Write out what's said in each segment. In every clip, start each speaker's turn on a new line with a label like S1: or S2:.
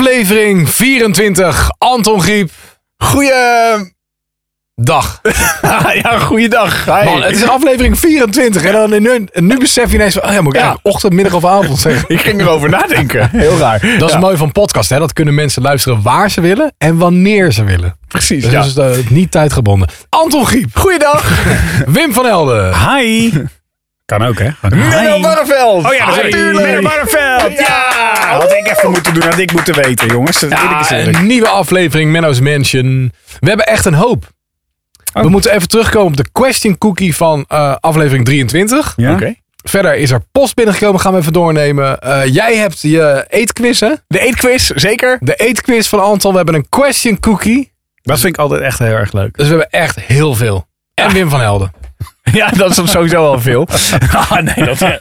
S1: aflevering 24. Anton Griep,
S2: Goeiedag.
S1: dag.
S2: ja, goeiedag. Hi.
S1: Man, het is aflevering 24. En dan nu, nu besef je ineens van, oh ja, moet ik
S2: Ja.
S1: eigenlijk ochtend, middag of avond zeggen.
S2: Ik ging erover nadenken. Heel raar.
S1: Dat is
S2: Ja,
S1: mooi van podcast, hè? Dat kunnen mensen luisteren waar ze willen en wanneer ze willen.
S2: precies.
S1: Dus
S2: ja.
S1: dat is eh, niet tijdgebonden. Anton Griep,
S2: Goeiedag.
S1: Wim van
S2: Ah,
S1: Helden.
S3: Hi. Kan ook, hè?
S2: Menno Barreveld.
S3: Oh ja, dat is
S2: Hi.
S3: Menno Barneveld. Ja, had ik even moeten doen, had ik moeten weten, jongens. Dat weet ik eens
S1: Ja,
S3: eerlijk.
S1: een Ah, nieuwe aflevering Menno's Mansion. We hebben echt een hoop.
S2: Oh.
S1: We moeten even terugkomen op de question cookie van eh, aflevering 23.
S3: Ja?
S2: Oké.
S1: Verder is er post binnengekomen, gaan we even doornemen. Eh, jij hebt je eetquiz, hè?
S2: De eetquiz, zeker.
S1: De eetquiz van Anton. We hebben een question cookie.
S2: Dat vind ik altijd echt heel erg leuk.
S1: Dus we hebben echt heel veel. En Wim van Helden.
S2: Ja, dat is dan sowieso al veel. ah, nee, dat
S1: Waar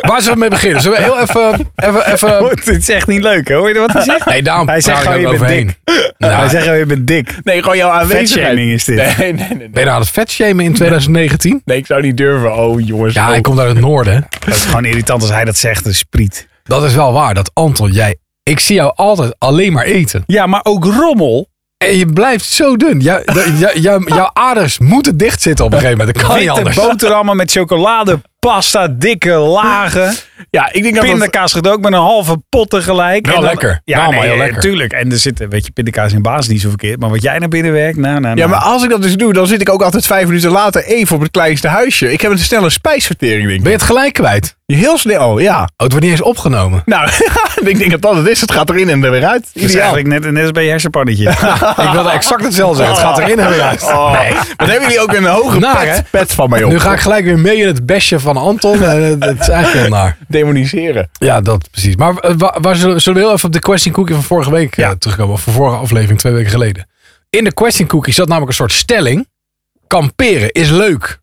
S1: zullen we mee beginnen? Zullen we heel even... even, even...
S3: Dit is echt niet leuk, hè? hoor je wat hij zegt?
S1: Nee, daarom
S3: Hij zegt
S1: praat ik
S3: gewoon,
S1: ook
S3: je
S1: overheen.
S3: bent
S1: Nou,
S3: Hij zegt, oh, je bent dik.
S2: Nee, gewoon jouw aanwezigheid.
S3: Vetshaming is dit.
S2: Nee, nee, nee, nee.
S1: Ben je nou aan het vetshamen in 2019?
S2: Nee, ik zou niet durven. Oh, jongens.
S1: Ja,
S2: oh.
S1: ik kom uit het noorden. hè.
S3: Dat is gewoon irritant als hij dat zegt, een spriet.
S1: Dat is wel waar, dat Anton, jij... Ik zie jou altijd alleen maar eten.
S3: Ja, maar ook rommel.
S1: En je blijft zo dun. Jou, jou- jou- jou- jouw aders moeten dicht zitten op een gegeven moment. Dat kan niet
S3: Witte
S1: anders.
S3: boterhammen met chocolade, pasta, dikke lagen.
S2: ja, ik denk dat dat...
S3: Pindakaas gedookt met een halve pot tegelijk.
S1: Wel
S3: En dan-
S1: lekker.
S3: Ja,
S1: Wel,
S3: nee,
S1: maar heel lekker.
S3: tuurlijk. En er zitten, weet je, pindakaas in basis niet zo verkeerd. Maar wat jij naar binnen werkt, nou, nou, nou.
S2: Ja, maar als ik dat dus doe, dan zit ik ook altijd vijf minuten later even op het kleinste huisje. Ik heb een snelle spijsvertering, denk ik.
S1: Ben je het gelijk kwijt?
S2: Heel snel, ja.
S1: Oh, het wordt niet eens opgenomen.
S2: Nou, ik denk dat dat het is. Het gaat erin en er weer uit. Dus
S3: Dat is
S2: Ideaal.
S3: eigenlijk net, net als bij je hersenpannetje.
S1: Ik wilde exact hetzelfde zeggen. Het gaat erin en
S2: Oh.
S1: weer uit.
S2: Nee. Wat hebben jullie ook een hoge
S1: Naar, oh. Nou, hè?
S2: pet, pet van mij op?
S1: Nu ga ik gelijk weer mee in het besje van Anton. En het, het is eigenlijk heel naar.
S2: demoniseren.
S1: Ja, dat precies. Maar eh, wa- waar, zullen, zullen we heel even op de question cookie van vorige week eh, terugkomen? Of van vorige aflevering, twee weken geleden. In de question cookie zat namelijk een soort stelling. Kamperen is leuk.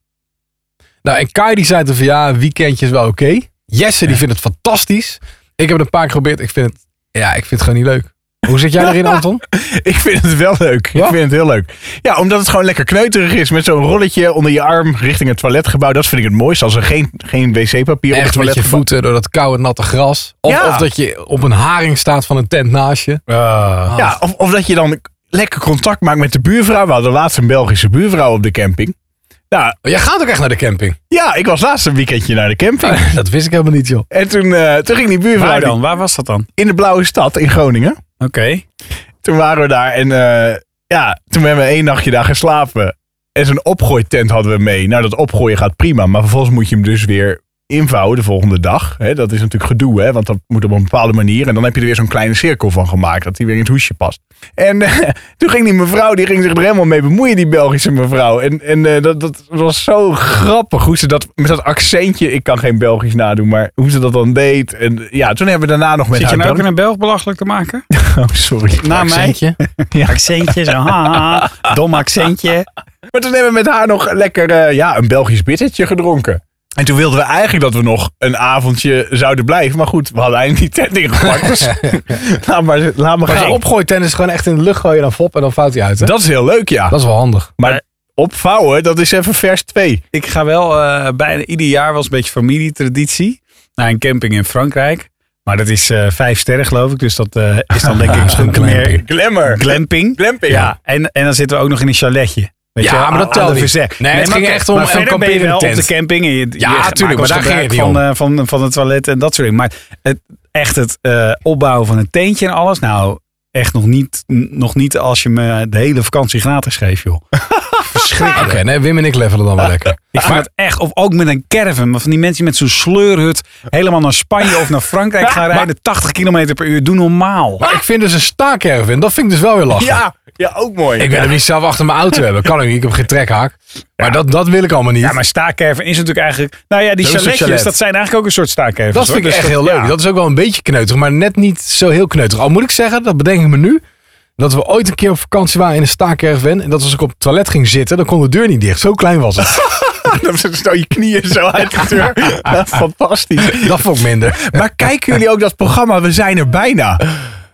S1: Nou, en Kai die zei toen van ja, een weekendje is wel oké. Jesse die vindt het fantastisch. Ik heb het een paar keer geprobeerd. Ik vind het, ja, ik vind het gewoon niet leuk. Hoe zit jij erin, Anton?
S2: Ik vind het wel leuk.
S1: Ja?
S2: Ik vind het heel leuk. Ja, omdat het gewoon lekker kneuterig is met zo'n rolletje onder je arm richting het toiletgebouw. Dat vind ik het mooiste als er geen, geen wc-papier op
S1: Echt
S2: het
S1: met je
S2: toiletgebouw
S1: voeten door dat koude natte gras. Of,
S2: Ja.
S1: of dat je op een haring staat van een tent naast je. Ah.
S2: Ja, of, of dat je dan lekker contact maakt met de buurvrouw. We hadden laatst een Belgische buurvrouw op de camping. Nou,
S1: Oh, Jij gaat ook echt naar de camping.
S2: ja, ik was laatst een weekendje naar de camping.
S1: Dat wist ik helemaal niet, joh.
S2: En toen, eh, toen ging die buurvrouw
S3: Waar
S2: die-
S3: dan? Waar was dat dan?
S2: in de Blauwe Stad in Groningen.
S3: Oké.
S2: toen waren we daar en eh, ja, toen hebben we één nachtje daar geslapen. En zo'n opgooitent hadden we mee. Nou, dat opgooien gaat prima, maar vervolgens moet je hem dus weer invouwen de volgende dag. Hè, dat is natuurlijk gedoe, hè, want dat moet op een bepaalde manier. En dan heb je er weer zo'n kleine cirkel van gemaakt, dat die weer in het hoesje past. En eh, toen ging die mevrouw, die ging zich er helemaal mee bemoeien, die Belgische mevrouw. En, en eh, dat, dat was zo grappig hoe ze dat, met dat accentje, ik kan geen Belgisch nadoen, maar hoe ze dat dan deed. En ja, toen hebben we daarna nog met
S3: Zit je
S2: haar
S3: nou ook in
S2: dan-
S3: een Belg belachelijk te maken?
S2: Oh, sorry.
S1: Nou,
S3: Na mij?
S1: Accentje.
S3: Accentje, zo. haha. Dom accentje.
S2: Maar toen hebben we met haar nog lekker eh, ja, een Belgisch bittertje gedronken. En toen wilden we eigenlijk dat we nog een avondje zouden blijven. Maar goed, we hadden eigenlijk die tent ingepakt. Dus laat maar, laat maar
S1: Maar
S2: gaan.
S1: zo'n opgooitennis is gewoon echt in de lucht gooien dan fop en dan fout hij uit. Hè?
S2: Dat is heel leuk, ja.
S1: Dat is wel handig.
S2: Maar opvouwen, dat is even vers 2.
S3: Ik ga wel eh, bijna ieder jaar, was een beetje familietraditie, naar een camping in Frankrijk. Maar dat is eh, vijf sterren, geloof ik. Dus dat eh, is dan denk ik misschien meer
S1: glamping.
S2: Glamour.
S3: glamping.
S2: Glamping.
S3: Ja, en, en dan zitten we ook nog in een chaletje. Weet
S1: Ja,
S3: je, wel,
S1: maar dat
S3: aan- aan
S1: telt
S3: de
S1: niet.
S3: verzet.
S1: Nee, het ging
S3: oké,
S1: echt om-
S3: maar
S1: om
S3: verder ben je
S1: kamperen
S3: wel
S1: tent.
S3: op de camping. En je,
S1: Ja,
S3: je
S1: tuurlijk,
S3: maakt
S1: maar daar
S3: gebruik
S1: ging het
S3: van,
S1: niet
S3: eh, van, van het toilet en dat soort dingen. Maar het, echt het eh, opbouwen van een teentje en alles. Nou, echt nog niet, n- nog niet als je me de hele vakantie gratis geeft, joh.
S1: Oké, nee, Wim en ik levelen dan wel lekker.
S3: Ik vind het echt, of ook met een caravan. maar Van die mensen die met zo'n sleurhut helemaal naar Spanje of naar Frankrijk gaan rijden. 80 kilometer per uur. Doe normaal.
S1: Maar ik vind dus een staakerven, dat vind ik dus wel weer lachen.
S2: Ja, ja, ook mooi.
S1: Ik wil hem niet zelf achter mijn auto hebben. Kan ik niet, ik heb geen trekhaak. Maar dat, dat wil ik allemaal niet.
S3: Ja, maar staakerven is natuurlijk eigenlijk... Nou ja, die
S1: Dat is een chalet.
S3: chaletjes, dat zijn eigenlijk ook een soort Dus staakerven.
S1: dat vind ik echt heel leuk. Dat is ook wel een beetje kneuterig, maar net niet zo heel kneuterig. Al moet ik zeggen, dat bedenk ik me nu, dat we ooit een keer op vakantie waren in een staakerven. En dat als ik op het toilet ging zitten, dan kon de deur niet dicht. Zo klein was het.
S2: Dan stel je knieën zo uit de deur. Fantastisch.
S1: Dat vond ik minder.
S2: Maar kijken jullie ook dat programma We zijn er bijna?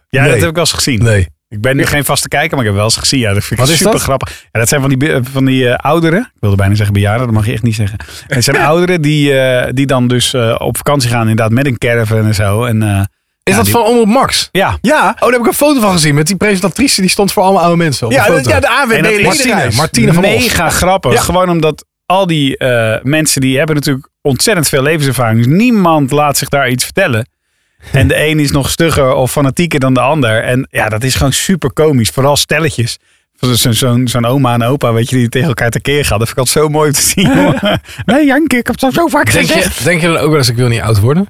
S3: Ja,
S1: Nee.
S3: dat heb ik wel eens gezien.
S1: Nee.
S3: Ik ben nu geen vaste kijker, maar ik heb wel eens gezien. Ja, dat vind ik
S1: Wat is
S3: super
S1: dat?
S3: grappig. Ja, dat zijn van die, be- van die eh, ouderen. Ik wilde bijna zeggen bejaarden, dat mag je echt niet zeggen. Het zijn ouderen die, eh, die dan dus eh, op vakantie gaan, inderdaad, met een caravan en zo. En eh,
S1: Is dat
S3: die-
S1: van Omroep Max?
S3: Ja.
S2: Ja,
S1: Oh, daar heb ik een foto van gezien met die presentatrice. Die stond voor allemaal oude mensen op
S2: ja,
S1: de
S2: dat-
S1: foto.
S2: ja, de
S3: En dat
S2: AWB
S3: is-
S1: Martine,
S2: ledenreis.
S1: Martine van Os.
S3: Mega grappig.
S2: Ja.
S3: Gewoon omdat al die eh, mensen die hebben natuurlijk ontzettend veel levenservaring. Dus Niemand laat zich daar iets vertellen. En de een is nog stugger of fanatieker dan de ander. En ja, dat is gewoon super komisch. Vooral stelletjes. Zo- zo- Zo'n zo'n oma en opa, weet je, die tegen elkaar tekeer gaan. Dat vind ik altijd zo mooi om te zien. jongen. nee, Janke, ik heb het al zo vaak
S1: Denk
S3: gezegd.
S1: je, denk je dan ook wel eens, ik wil niet oud worden?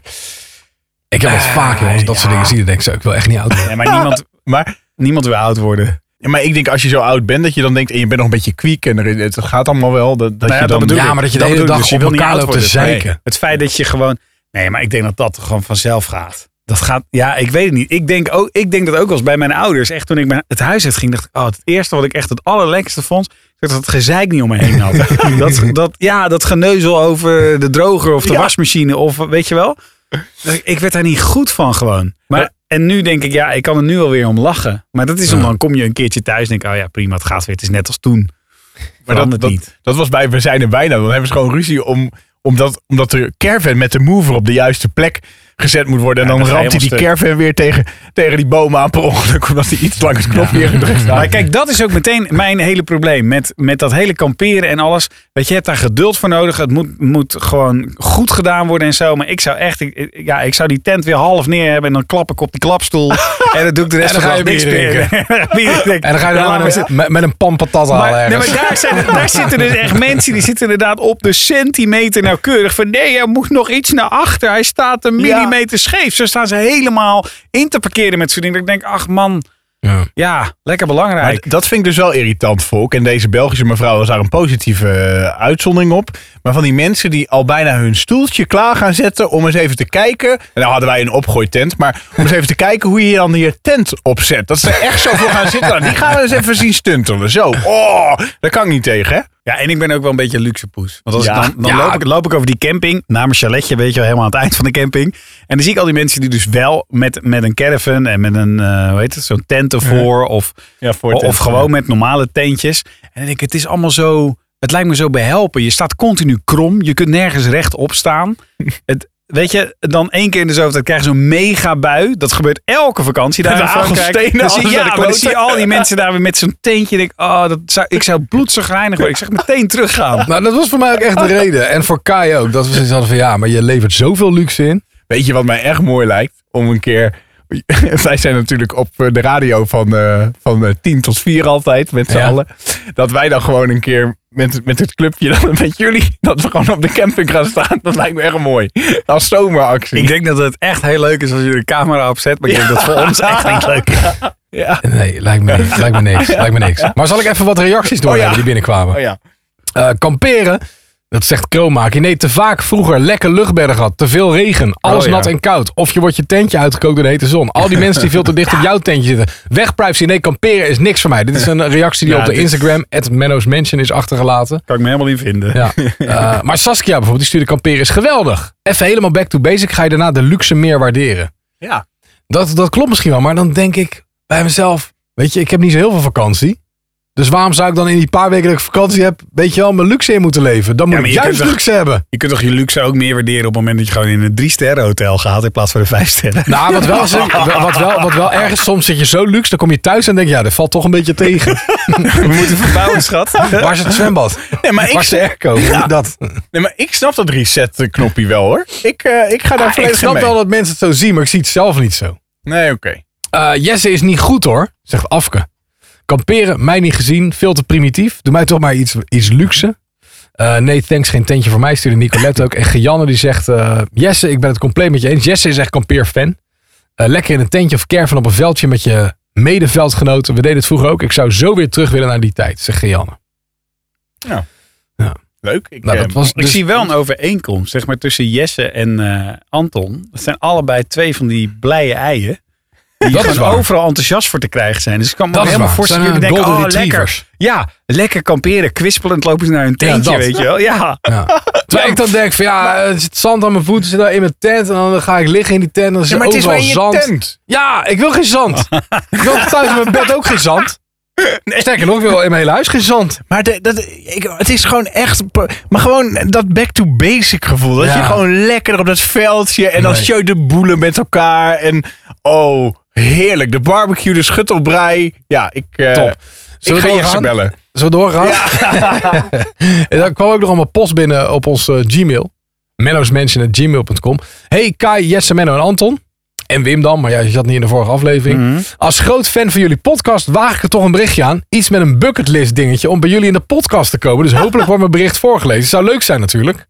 S1: Ik heb het vaak, jongens, dat soort dingen zie je. denk ik zo, ik wil echt niet oud worden.
S3: Nee, maar niemand,
S2: Maar,
S3: niemand wil oud worden.
S2: maar ik denk als je zo oud bent, dat je dan denkt, en je bent nog een beetje kwiek en er, is- het gaat allemaal wel. Dat, dat
S3: Nou
S2: je
S3: ja, dat
S2: dan,
S3: bedoel
S1: ja,
S3: ik.
S1: maar dat je de
S3: Dat
S1: hele
S3: bedoel ik,
S1: dag
S3: dus je
S1: op
S3: wil niet
S1: elkaar
S3: oud
S1: loopt te
S3: worden.
S1: zeiken.
S3: Het feit dat je gewoon. Nee, maar ik denk dat dat gewoon vanzelf gaat. Dat gaat. Ja, ik weet het niet. Ik denk, ook, ik denk dat ook als bij mijn ouders. Echt toen ik mijn, het huis uit ging, dacht ik. Oh, het eerste wat ik echt het allerlekkerste vond. is Dat het gezeik niet om me heen had. dat, dat, ja, dat geneuzel over de droger of de
S2: Ja.
S3: wasmachine. Of weet je wel. Dat- Ik werd daar niet goed van gewoon. Maar,
S2: Ja.
S3: En nu denk ik, ja, ik kan er nu alweer om lachen. Maar dat is om
S1: Ja.
S3: dan kom je een keertje thuis en denk ik, oh ja, prima, het gaat weer. Het is net als toen.
S2: Maar dat,
S3: Verandert
S2: dat,
S3: niet.
S2: dat was bij We zijn er bijna. Dan hebben ze gewoon ruzie om, omdat, omdat de caravan met de mover op de juiste plek gezet moet worden. En
S3: Ja,
S2: dan,
S3: dan ga je
S2: ramt hij die
S3: helemaal
S2: caravan weer tegen, tegen die bomen aan per ongeluk. Omdat hij iets langs het knopje gedrukt had.
S3: Maar kijk, dat is ook meteen mijn hele probleem met, met dat hele kamperen en alles. Weet je, je hebt daar geduld voor nodig. Het moet, moet gewoon goed gedaan worden en zo. Maar ik zou echt, ik- ik- ja, ik zou die tent weer half neer hebben en dan klap ik op die klapstoel. en dan doe ik de rest
S1: En dan
S3: van
S1: ga
S3: de
S1: je
S3: dag niks
S1: bier
S3: meer. Bier drinken.
S1: En dan ga je
S3: Ja,
S1: dan
S3: laat maar zitten.
S1: met, met een pan patat halen
S3: Maar, nee,
S1: ergens.
S3: maar daar, zijn, daar zitten dus echt mensen die zitten inderdaad op de centimeter nauwkeurig. Van nee, hij moet nog iets naar achter. Hij staat
S2: Ja.
S3: een millimeter scheef. Zo staan ze helemaal in te parkeren met zo'n ding. Dat ik denk, ach man,
S1: Ja.
S3: ja, lekker belangrijk.
S2: Maar d- dat vind ik dus wel irritant, Volk. En deze Belgische mevrouw was daar een positieve eh, uitzondering op. Maar van die mensen die al bijna hun stoeltje klaar gaan zetten om eens even te kijken. En nou hadden wij een opgooitent. Maar om eens even te kijken hoe je dan je tent opzet. Dat ze er echt zo voor gaan zitten. Nou, die gaan we eens even zien stuntelen. Zo. Oh, daar kan ik niet tegen, hè?
S3: Ja, en ik ben ook wel een beetje een luxe poes. Want als
S2: Ja.
S3: ik dan, dan
S2: Ja.
S3: loop, ik, loop ik over die camping, naar mijn chaletje, weet je wel, helemaal aan het eind van de camping. En dan zie ik al die mensen die dus wel met, met een caravan en met een, eh, hoe heet het, zo'n tent ervoor. Of,
S2: Ja, voor
S3: of gewoon met normale tentjes. En dan denk ik, het is allemaal zo, het lijkt me zo behelpen. Je staat continu krom, je kunt nergens rechtop staan. het, weet je, dan één keer in de zoveel tijd krijg je zo'n mega bui. Dat gebeurt elke vakantie daar
S2: Met
S3: in
S2: de
S3: Frankrijk.
S2: hagelstenen,
S3: Dan zie,
S2: alles naar
S3: ja,
S2: de
S3: maar dan
S2: kloten.
S3: zie je al die mensen daar weer met zo'n tentje. Denk, ik, oh, dat zou, ik zou bloedzagrijnig worden. Ik zeg meteen teruggaan.
S1: Nou, dat was voor mij ook echt de reden. En voor Kai ook. Dat we zoiets hadden van, ja, maar je levert zoveel luxe in.
S2: Weet je wat mij echt mooi lijkt? Om een keer. Wij zijn natuurlijk op eh, de radio van, eh van eh, 10 tot 4 altijd met z'n
S1: Ja.
S2: allen. Dat wij dan gewoon een keer met, met het clubje, dan met jullie, dat we gewoon op de camping gaan staan. Dat lijkt me echt mooi. Als zomeractie.
S3: Ik denk dat het echt heel leuk is als je de camera opzet. Maar ik denk dat het voor ons echt niet leuk is.
S2: ja.
S1: Nee, lijkt me, niet, lijkt me niks. Lijkt me niks. Maar zal ik even wat reacties doorhebben
S2: ja.
S1: die binnenkwamen?
S2: Oh ja.
S1: Eh, kamperen, dat zegt Kroonmaker. Nee, te vaak vroeger lekker luchtberg had. Te veel regen, alles
S3: Oh, ja.
S1: nat en koud. Of je wordt je tentje uitgekookt door de hete zon. Al die mensen die veel te dicht op jouw tentje zitten. Weg privacy, nee, kamperen is niks voor mij. Dit is een reactie die
S3: Ja,
S1: op de
S3: dit-
S1: Instagram, at Menno's Mansion, is achtergelaten.
S3: Kan ik me helemaal niet vinden.
S1: Ja. Eh, maar Saskia bijvoorbeeld, die stuurde kamperen is geweldig. Even helemaal back to basic, ga je daarna de luxe meer waarderen.
S2: Ja.
S1: Dat, dat klopt misschien wel, maar dan denk ik bij mezelf, weet je, ik heb niet zo heel veel vakantie. Dus waarom zou ik dan in die paar weken dat ik vakantie heb, weet je wel, mijn luxe in moeten leven? Dan moet
S3: Ja, maar
S1: ik
S3: je
S1: juist
S3: kunt toch-
S1: luxe hebben.
S3: Je kunt toch je luxe ook meer waarderen op het moment dat je gewoon in een drie sterren hotel gaat. In plaats van een vijf sterren.
S1: Nou, wat wel, is- wat, wel, wat wel ergens, soms zit je zo luxe, dan kom je thuis en denk je, ja, dat valt toch een beetje tegen.
S3: We moeten verbouwen, schat.
S1: Waar is het zwembad?
S2: Nee, maar
S1: Waar
S2: ik,
S1: is de airco? Dat.
S2: nee, maar ik snap dat reset-knopje wel hoor. Ik, eh, ik ga daar
S1: Ah, Ik
S2: volledig in
S1: snap
S2: mee.
S1: wel dat mensen het zo zien, maar ik zie het zelf niet zo.
S2: Nee, oké.
S1: Eh, Jesse is niet goed hoor, zegt Afke. Kamperen, mij niet gezien, veel te primitief. Doe mij toch maar iets, iets luxe. Eh, nee, thanks, geen tentje voor mij, stuurde Nicolette ook. En Gianne die zegt, eh, Jesse, ik ben het compleet met je eens. Jesse is echt kampeerfan. Eh, lekker in een tentje of caravan op een veldje met je medeveldgenoten. We deden het vroeger ook. Ik zou zo weer terug willen naar die tijd, zegt Gianne.
S2: Leuk. Ik,
S1: Nou,
S2: eh,
S1: dat was
S3: Ik
S1: dus-
S3: zie wel een overeenkomst zeg maar, tussen Jesse en eh, Anton. Dat zijn allebei twee van die blije eieren. Die
S1: Dat
S3: gewoon
S1: is waar.
S3: overal enthousiast voor te krijgen zijn. Dus ik kan me
S1: Dat is
S3: helemaal
S1: waar.
S3: voorstellen.
S1: Zijn,
S3: dat Jullie
S1: eh,
S3: denken, oh
S1: golden
S3: lekker.
S1: retrievers.
S3: Ja, lekker kamperen. Kwispelend lopen ze naar hun tentje,
S1: dat.
S3: weet je wel. Ja. Oh,
S1: Ja. Terwijl ik dan denk van ja, eh, er zit zand aan mijn voeten, zit daar in mijn tent. En dan ga ik liggen in die tent en dan zit
S2: Ja, maar het is
S1: overal
S2: maar in je
S1: zand.
S2: tent.
S1: Ja, ik wil geen zand. ik wil thuis in mijn bed ook geen zand. Sterker nog, ik wil in mijn hele huis geen zand.
S2: Maar de- dat, ik, het is gewoon echt. Maar gewoon dat back to basic gevoel. Dat
S1: Ja.
S2: je gewoon lekker op dat veldje. En dan
S1: Nee.
S2: show je de boelen met elkaar. En oh, heerlijk. De barbecue, de schuttelbrei. Ja, ik. eh,
S1: Top.
S2: Ik
S1: Zullen we
S2: ga Jesse
S1: doorgaan?
S2: bellen.
S1: Zo doorgaan. en dan kwam ook nog allemaal post binnen op ons eh, Gmail. mennosmansion.gmail.com Hey Kai, Jesse, Menno en Anton. En Wim dan, maar ja, je zat niet in de vorige aflevering.
S3: Mhm.
S1: Als groot fan van jullie podcast waag ik er toch een berichtje aan. Iets met een bucketlist dingetje om bij jullie in de podcast te komen. Dus hopelijk wordt mijn bericht voorgelezen. Zou leuk zijn natuurlijk.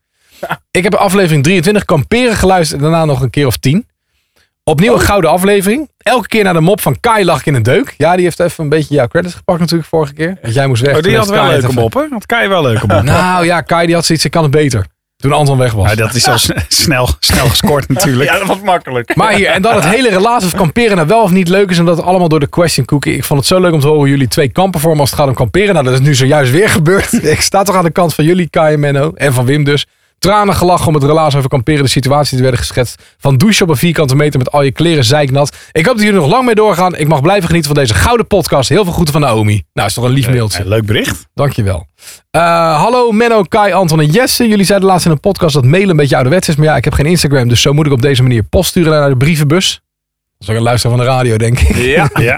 S1: Ik heb aflevering 23 kamperen geluisterd en daarna nog een keer of tien. Opnieuw een
S3: Oh.
S1: gouden aflevering. Elke keer naar de mop van Kai lag ik in een deuk. Ja, die heeft even een beetje jouw credits gepakt natuurlijk vorige keer. Want jij moest weg.
S3: Oh,
S1: toen
S3: die had
S1: heeft
S3: wel
S1: Kai
S3: leuke
S1: het even-
S3: moppen. Dat kan je wel leuke moppen.
S1: Nou ja, Kai die had zoiets, ik kan het beter. Toen Anton weg was.
S3: Nou, dat is al s- snel, snel gescoord natuurlijk.
S2: Ja, dat was makkelijk.
S1: Maar hier, en dat het hele relatie of kamperen nou wel of niet leuk is. En dat allemaal door de question cookie. Ik vond het zo leuk om te horen hoe jullie twee kampen vormen als het gaat om kamperen. Nou, dat is nu zojuist weer gebeurd. Ik sta toch aan de kant van jullie, Kai en Menno. En van Wim dus. Tranen gelachen om het relaas over kamperen. De situatie die werden geschetst. Van douchen op een vierkante meter met al je kleren zeiknat. Ik hoop dat jullie er nog lang mee doorgaan. Ik mag blijven genieten van deze gouden podcast. Heel veel groeten van Naomi. Nou, is toch een lief mailtje.
S3: Ja, leuk bericht.
S1: Dankjewel. Eh hallo Menno, Kai, Anton en Jesse. Jullie zeiden laatst in een podcast dat mailen een beetje ouderwets is. Maar ja, ik heb geen Instagram, dus zo moet ik op deze manier post sturen naar de brievenbus. Dat is ook een luisteraar van de radio, denk ik.
S2: Ja.
S3: Ja.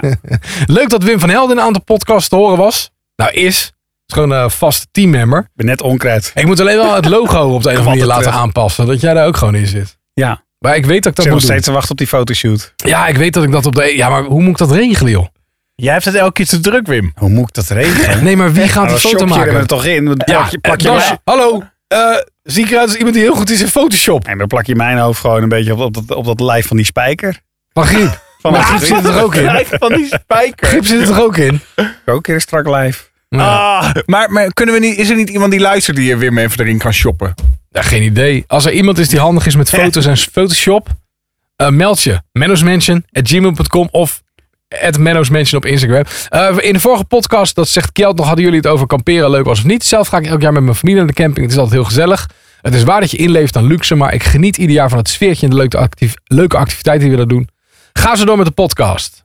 S1: Leuk dat Wim van Helden in een aantal podcasts te horen was. Nou, is. Het is gewoon een vaste teammember.
S3: Ik ben net onkruid.
S1: Ik moet alleen wel het logo op de een of andere manier
S3: Kwam het
S1: laten
S3: terug.
S1: aanpassen. Dat jij daar ook gewoon in zit.
S3: Ja. Ik
S1: Maar ik weet dat ik dat
S3: zit nog
S1: moet doen.
S3: steeds te wachten op die fotoshoot.
S1: Ja, ik weet dat ik dat op de... e- Ja, maar hoe moet ik dat regelen, joh?
S2: Jij hebt het elke keer te druk, Wim.
S3: Hoe moet ik dat regelen? Nou,
S1: Nee, maar wie
S3: Oh,
S1: gaat die foto
S3: Je
S1: maken?
S3: er toch in. Dan
S1: Ja,
S3: plak je, plak je
S1: dan-
S3: mijn-
S1: Hallo, eh, zie ik eruit als iemand die heel goed is in Photoshop?
S3: Nee, dan plak je mijn hoofd gewoon een beetje op, op, dat, op dat lijf van die spijker.
S1: Van Griep. Maar
S3: Van mijn
S1: Griep zit er ook in.
S2: Van die spijker.
S1: Griep zit er toch ook in?
S3: ook in een strak lijf.
S1: Ja.
S2: Ah, maar maar kunnen we niet, is er niet iemand die luistert die er Wim even erin kan shoppen?
S1: Ja, geen idee. Als er iemand is die handig is met foto's en Photoshop, eh, meld je. mennosmansion.gmail.com of at mennosmansion op Instagram. Eh, in de vorige podcast, dat zegt Kjeld nog, hadden jullie het over kamperen leuk was of niet. Zelf ga ik elk jaar met mijn familie naar de camping. Het is altijd heel gezellig. Het is waar dat je inleeft aan luxe, maar ik geniet ieder jaar van het sfeertje en de leuke, actief- leuke activiteiten die we daar doen. Ga zo door met de podcast.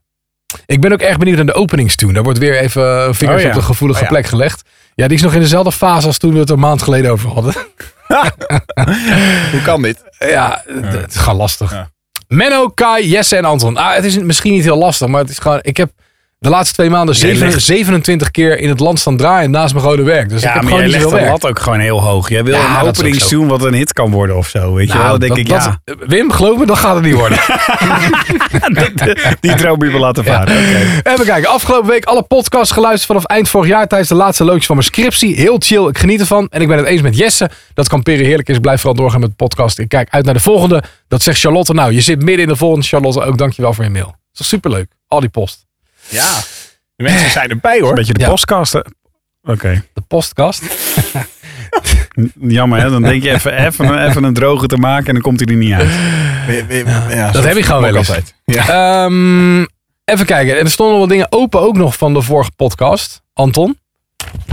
S1: Ik ben ook erg benieuwd naar de openingstune. Daar wordt weer even eh, vingers
S2: Oh ja.
S1: op de gevoelige
S2: Oh ja.
S1: plek gelegd. Ja, die is nog in dezelfde fase als toen we het er een maand geleden over hadden.
S2: Hoe kan dit?
S1: Ja, d- het is gewoon lastig.
S2: Ja.
S1: Menno, Kai, Jesse en Anton. Ah, het is misschien niet heel lastig, maar het is gewoon... Ik heb de laatste twee maanden
S3: Jij
S1: zeven-
S3: legt-
S1: 27 keer in het land staan draaien naast mijn rode werk. Dus ik
S3: Ja,
S1: heb
S3: maar
S1: gewoon
S3: jij
S1: niet
S3: legt
S1: veel
S3: de
S1: werk.
S3: lat ook gewoon heel hoog. Jij wil
S1: Ja, dat is
S3: een
S1: ook
S3: openingstune wat een hit kan worden of zo. Weet je wel?
S1: Nou,
S3: Dan denk
S1: dat-
S3: ik,
S1: dat-
S3: ja,
S1: Wim, geloof me, dat gaat het niet worden.
S3: die droombiebel laten varen. Oké.
S1: Even kijken. Afgelopen week alle podcasts geluisterd vanaf eind vorig jaar tijdens de laatste loodjes van mijn scriptie. Heel chill, ik geniet ervan. En ik ben het eens met Jesse dat kamperen heerlijk is. Blijf vooral doorgaan met de podcast. Ik kijk uit naar de volgende. Dat zegt Charlotte. Nou, je zit midden in de volgende. Charlotte, ook dankjewel voor je mail. Dat is toch superleuk. Al die post.
S2: Ja. De mensen zijn erbij hoor.
S3: Een beetje de
S1: Ja.
S3: podcast. hè? Oké.
S1: De postkast.
S3: Jammer hè, dan denk je even, even, even een droge te maken en dan komt hij er niet
S1: Oh,
S3: uit.
S2: We- we- ja,
S1: Dat
S2: Ah, zo
S1: heb ik gewoon wel
S2: ook
S1: eens.
S2: altijd. Ja.
S1: Ehm, even kijken. En er stonden wel dingen open ook nog van de vorige podcast. Anton.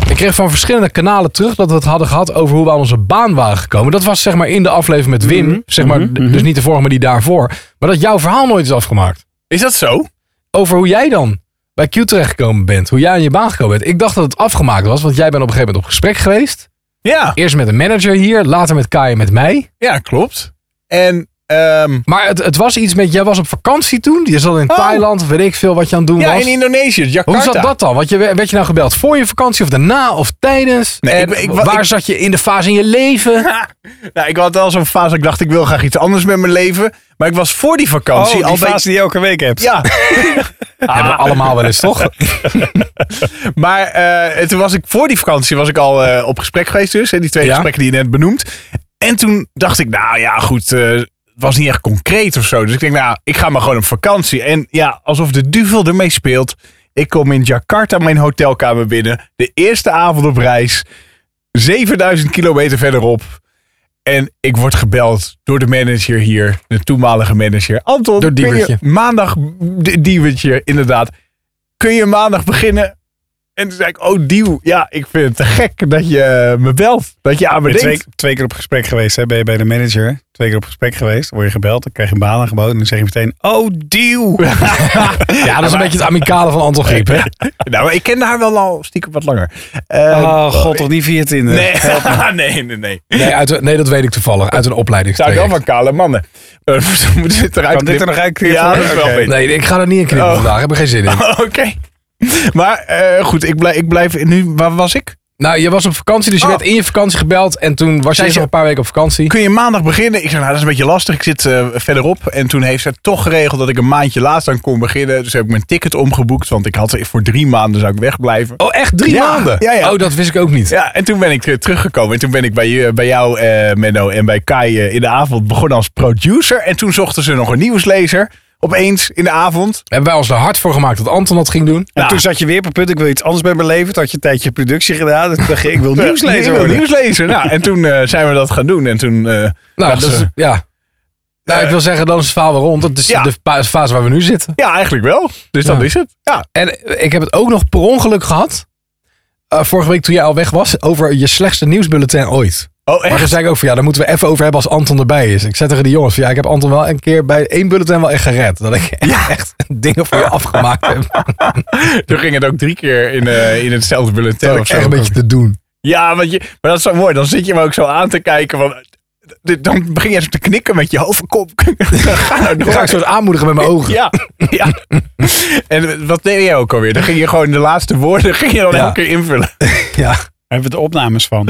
S1: Ik kreeg van verschillende kanalen terug dat we het hadden gehad over hoe we aan onze baan waren gekomen. Dat was zeg maar in de aflevering met Wim.
S3: Mhm,
S1: Zeg maar,
S3: mhm,
S1: d-
S3: mhm.
S1: Dus niet de vorige, maar die daarvoor. Maar dat jouw verhaal nooit is afgemaakt.
S2: Is dat zo?
S1: Over hoe jij dan bij Q terechtgekomen bent. Hoe jij aan je baan gekomen bent. Ik dacht dat het afgemaakt was, want jij bent op een gegeven moment op gesprek geweest.
S2: Ja,
S1: Eerst met een manager hier, later met Kai en met mij.
S2: ja klopt. En ehm,
S1: Maar het, het was iets met, jij was op vakantie toen. Je zat in
S2: Oh.
S1: Thailand, weet ik veel wat je aan het doen
S2: ja,
S1: was.
S2: in Indonesië, Jakarta.
S1: Hoe zat dat dan? Want je, werd je nou gebeld voor je vakantie of daarna of tijdens?
S2: Nee,
S1: en
S2: ik- ik-
S1: waar
S2: ik-
S1: zat je in de fase in je leven?
S2: Nou, ik had al zo'n fase dat ik dacht, ik wil graag iets anders met mijn leven. Maar ik was voor die
S3: Oh,
S2: vakantie
S3: die
S2: al bij-
S3: fase die je elke week hebt.
S2: Ja,
S1: Hebben we allemaal wel eens, toch?
S2: maar eh, toen was ik voor die vakantie was ik al eh, op gesprek geweest dus. Hè, die twee
S1: Ja.
S2: gesprekken die je net benoemt. En toen dacht ik, nou ja, goed, eh, het was niet echt concreet of zo. Dus ik denk, nou, ik ga maar gewoon op vakantie. En ja, alsof de duvel ermee speelt. Ik kom in Jakarta mijn hotelkamer binnen. De eerste avond op reis. 7000 kilometer verderop. En ik word gebeld door de manager hier, de toenmalige manager. Anton,
S1: Door
S2: kun je
S1: Diewertje.
S2: maandag, D- Diewertje, inderdaad. Kun je maandag beginnen? En toen zei ik, oh Dieuw, ja, ik vind het te gek dat je me belt. Dat je aan me
S3: Ben twee,
S2: denkt.
S3: twee keer op gesprek geweest, hè? ben je bij de manager. Twee keer op gesprek geweest, word je gebeld, dan krijg je een baan aangeboden. En dan zeg je meteen, oh deal.
S1: Ja, dat is een beetje het amicale van Anton Griep, hè?
S2: Nou, maar ik kende haar wel al stiekem wat langer. Eh,
S3: Oh god, toch niet via Tinder.
S2: nee. Ah, nee, nee, nee.
S1: Nee, uit, nee, dat weet ik toevallig. Uit een opleiding.
S2: Ik zou wel van kale mannen. Eh, moet dit eruit
S3: Kan dit er nog uitknippen?
S2: Ja, dat is wel
S3: Oké.
S2: beter.
S1: Nee, ik ga er niet in knippen
S2: Oh.
S1: vandaag. Ik heb er geen zin in.
S2: Oké. Maar eh, goed, ik blijf, ik blijf... Nu, waar was ik?
S1: Nou, je was op vakantie, dus je
S2: Oh.
S1: werd in je vakantie gebeld. En toen was je
S2: Zei
S1: nog
S2: ze-
S1: een paar weken op vakantie.
S2: Kun je maandag beginnen? Ik zei, nou, dat is een beetje lastig. Ik zit eh, verderop. En toen heeft ze toch geregeld dat ik een maandje later dan kon beginnen. Dus heb ik mijn ticket omgeboekt. Want ik had voor drie maanden zou ik wegblijven.
S1: Oh, echt drie
S2: Ja,
S1: maanden?
S2: ja, ja.
S1: Oh, dat wist ik ook niet.
S2: Ja, en toen ben ik weer teruggekomen. En toen ben ik bij, je- bij jou, eh, Menno, en bij Kai eh, in de avond begonnen als producer. En toen zochten ze nog een nieuwslezer. Opeens in de avond.
S1: Hebben wij ons er hard voor gemaakt dat Anton dat ging doen?
S3: En
S2: Ja.
S3: toen zat je weer op het punt, ik wil iets anders bij mijn leven. Toen had je een tijdje productie gedaan. Toen dacht je, ik wil
S2: Ik
S3: nieuwslezer
S2: wil
S3: worden.
S2: Eh, nieuwslezer. Nou, en toen eh, zijn we dat gaan doen. En toen... eh,
S1: Nou,
S2: ja, dat is-
S1: ze- ja. Nou, ik wil zeggen, dan is het verhaal weer rond. Dat is
S2: Eh. Ja.
S1: de pa- fase waar we nu zitten.
S2: ja, eigenlijk wel. Dus dat
S1: Ja.
S2: is het. Ja.
S1: En ik heb het ook nog per ongeluk gehad. eh, vorige week toen jij al weg was, over je slechtste nieuwsbulletin ooit.
S2: Oh,
S1: Maar toen
S2: echt?
S1: zei ik ook van ja, daar moeten we even over hebben als Anton erbij is. Ik zei tegen de jongens van ja, ik heb Anton wel een keer bij één bulletin wel echt gered. Dat ik echt dingen voor je afgemaakt
S2: Oh,
S1: heb.
S2: Toen ging het ook drie keer in, eh, in hetzelfde bulletin.
S1: Dat
S2: of
S1: ik
S2: zo.
S1: echt een beetje te doen.
S2: Ja, want je, maar dat is zo mooi. Dan zit je me ook zo aan te kijken. Van, dit- dan begin je zo te knikken met je hoofd. Kom, ga nou
S1: Dan ga
S2: door.
S1: ik soort aanmoedigen met mijn ogen.
S2: Ja, ja. En wat deed jij ook alweer? Dan ging je gewoon de laatste woorden ging je dan
S1: Ja.
S2: elke keer invullen.
S1: Ja.
S3: Daar hebben we de opnames van.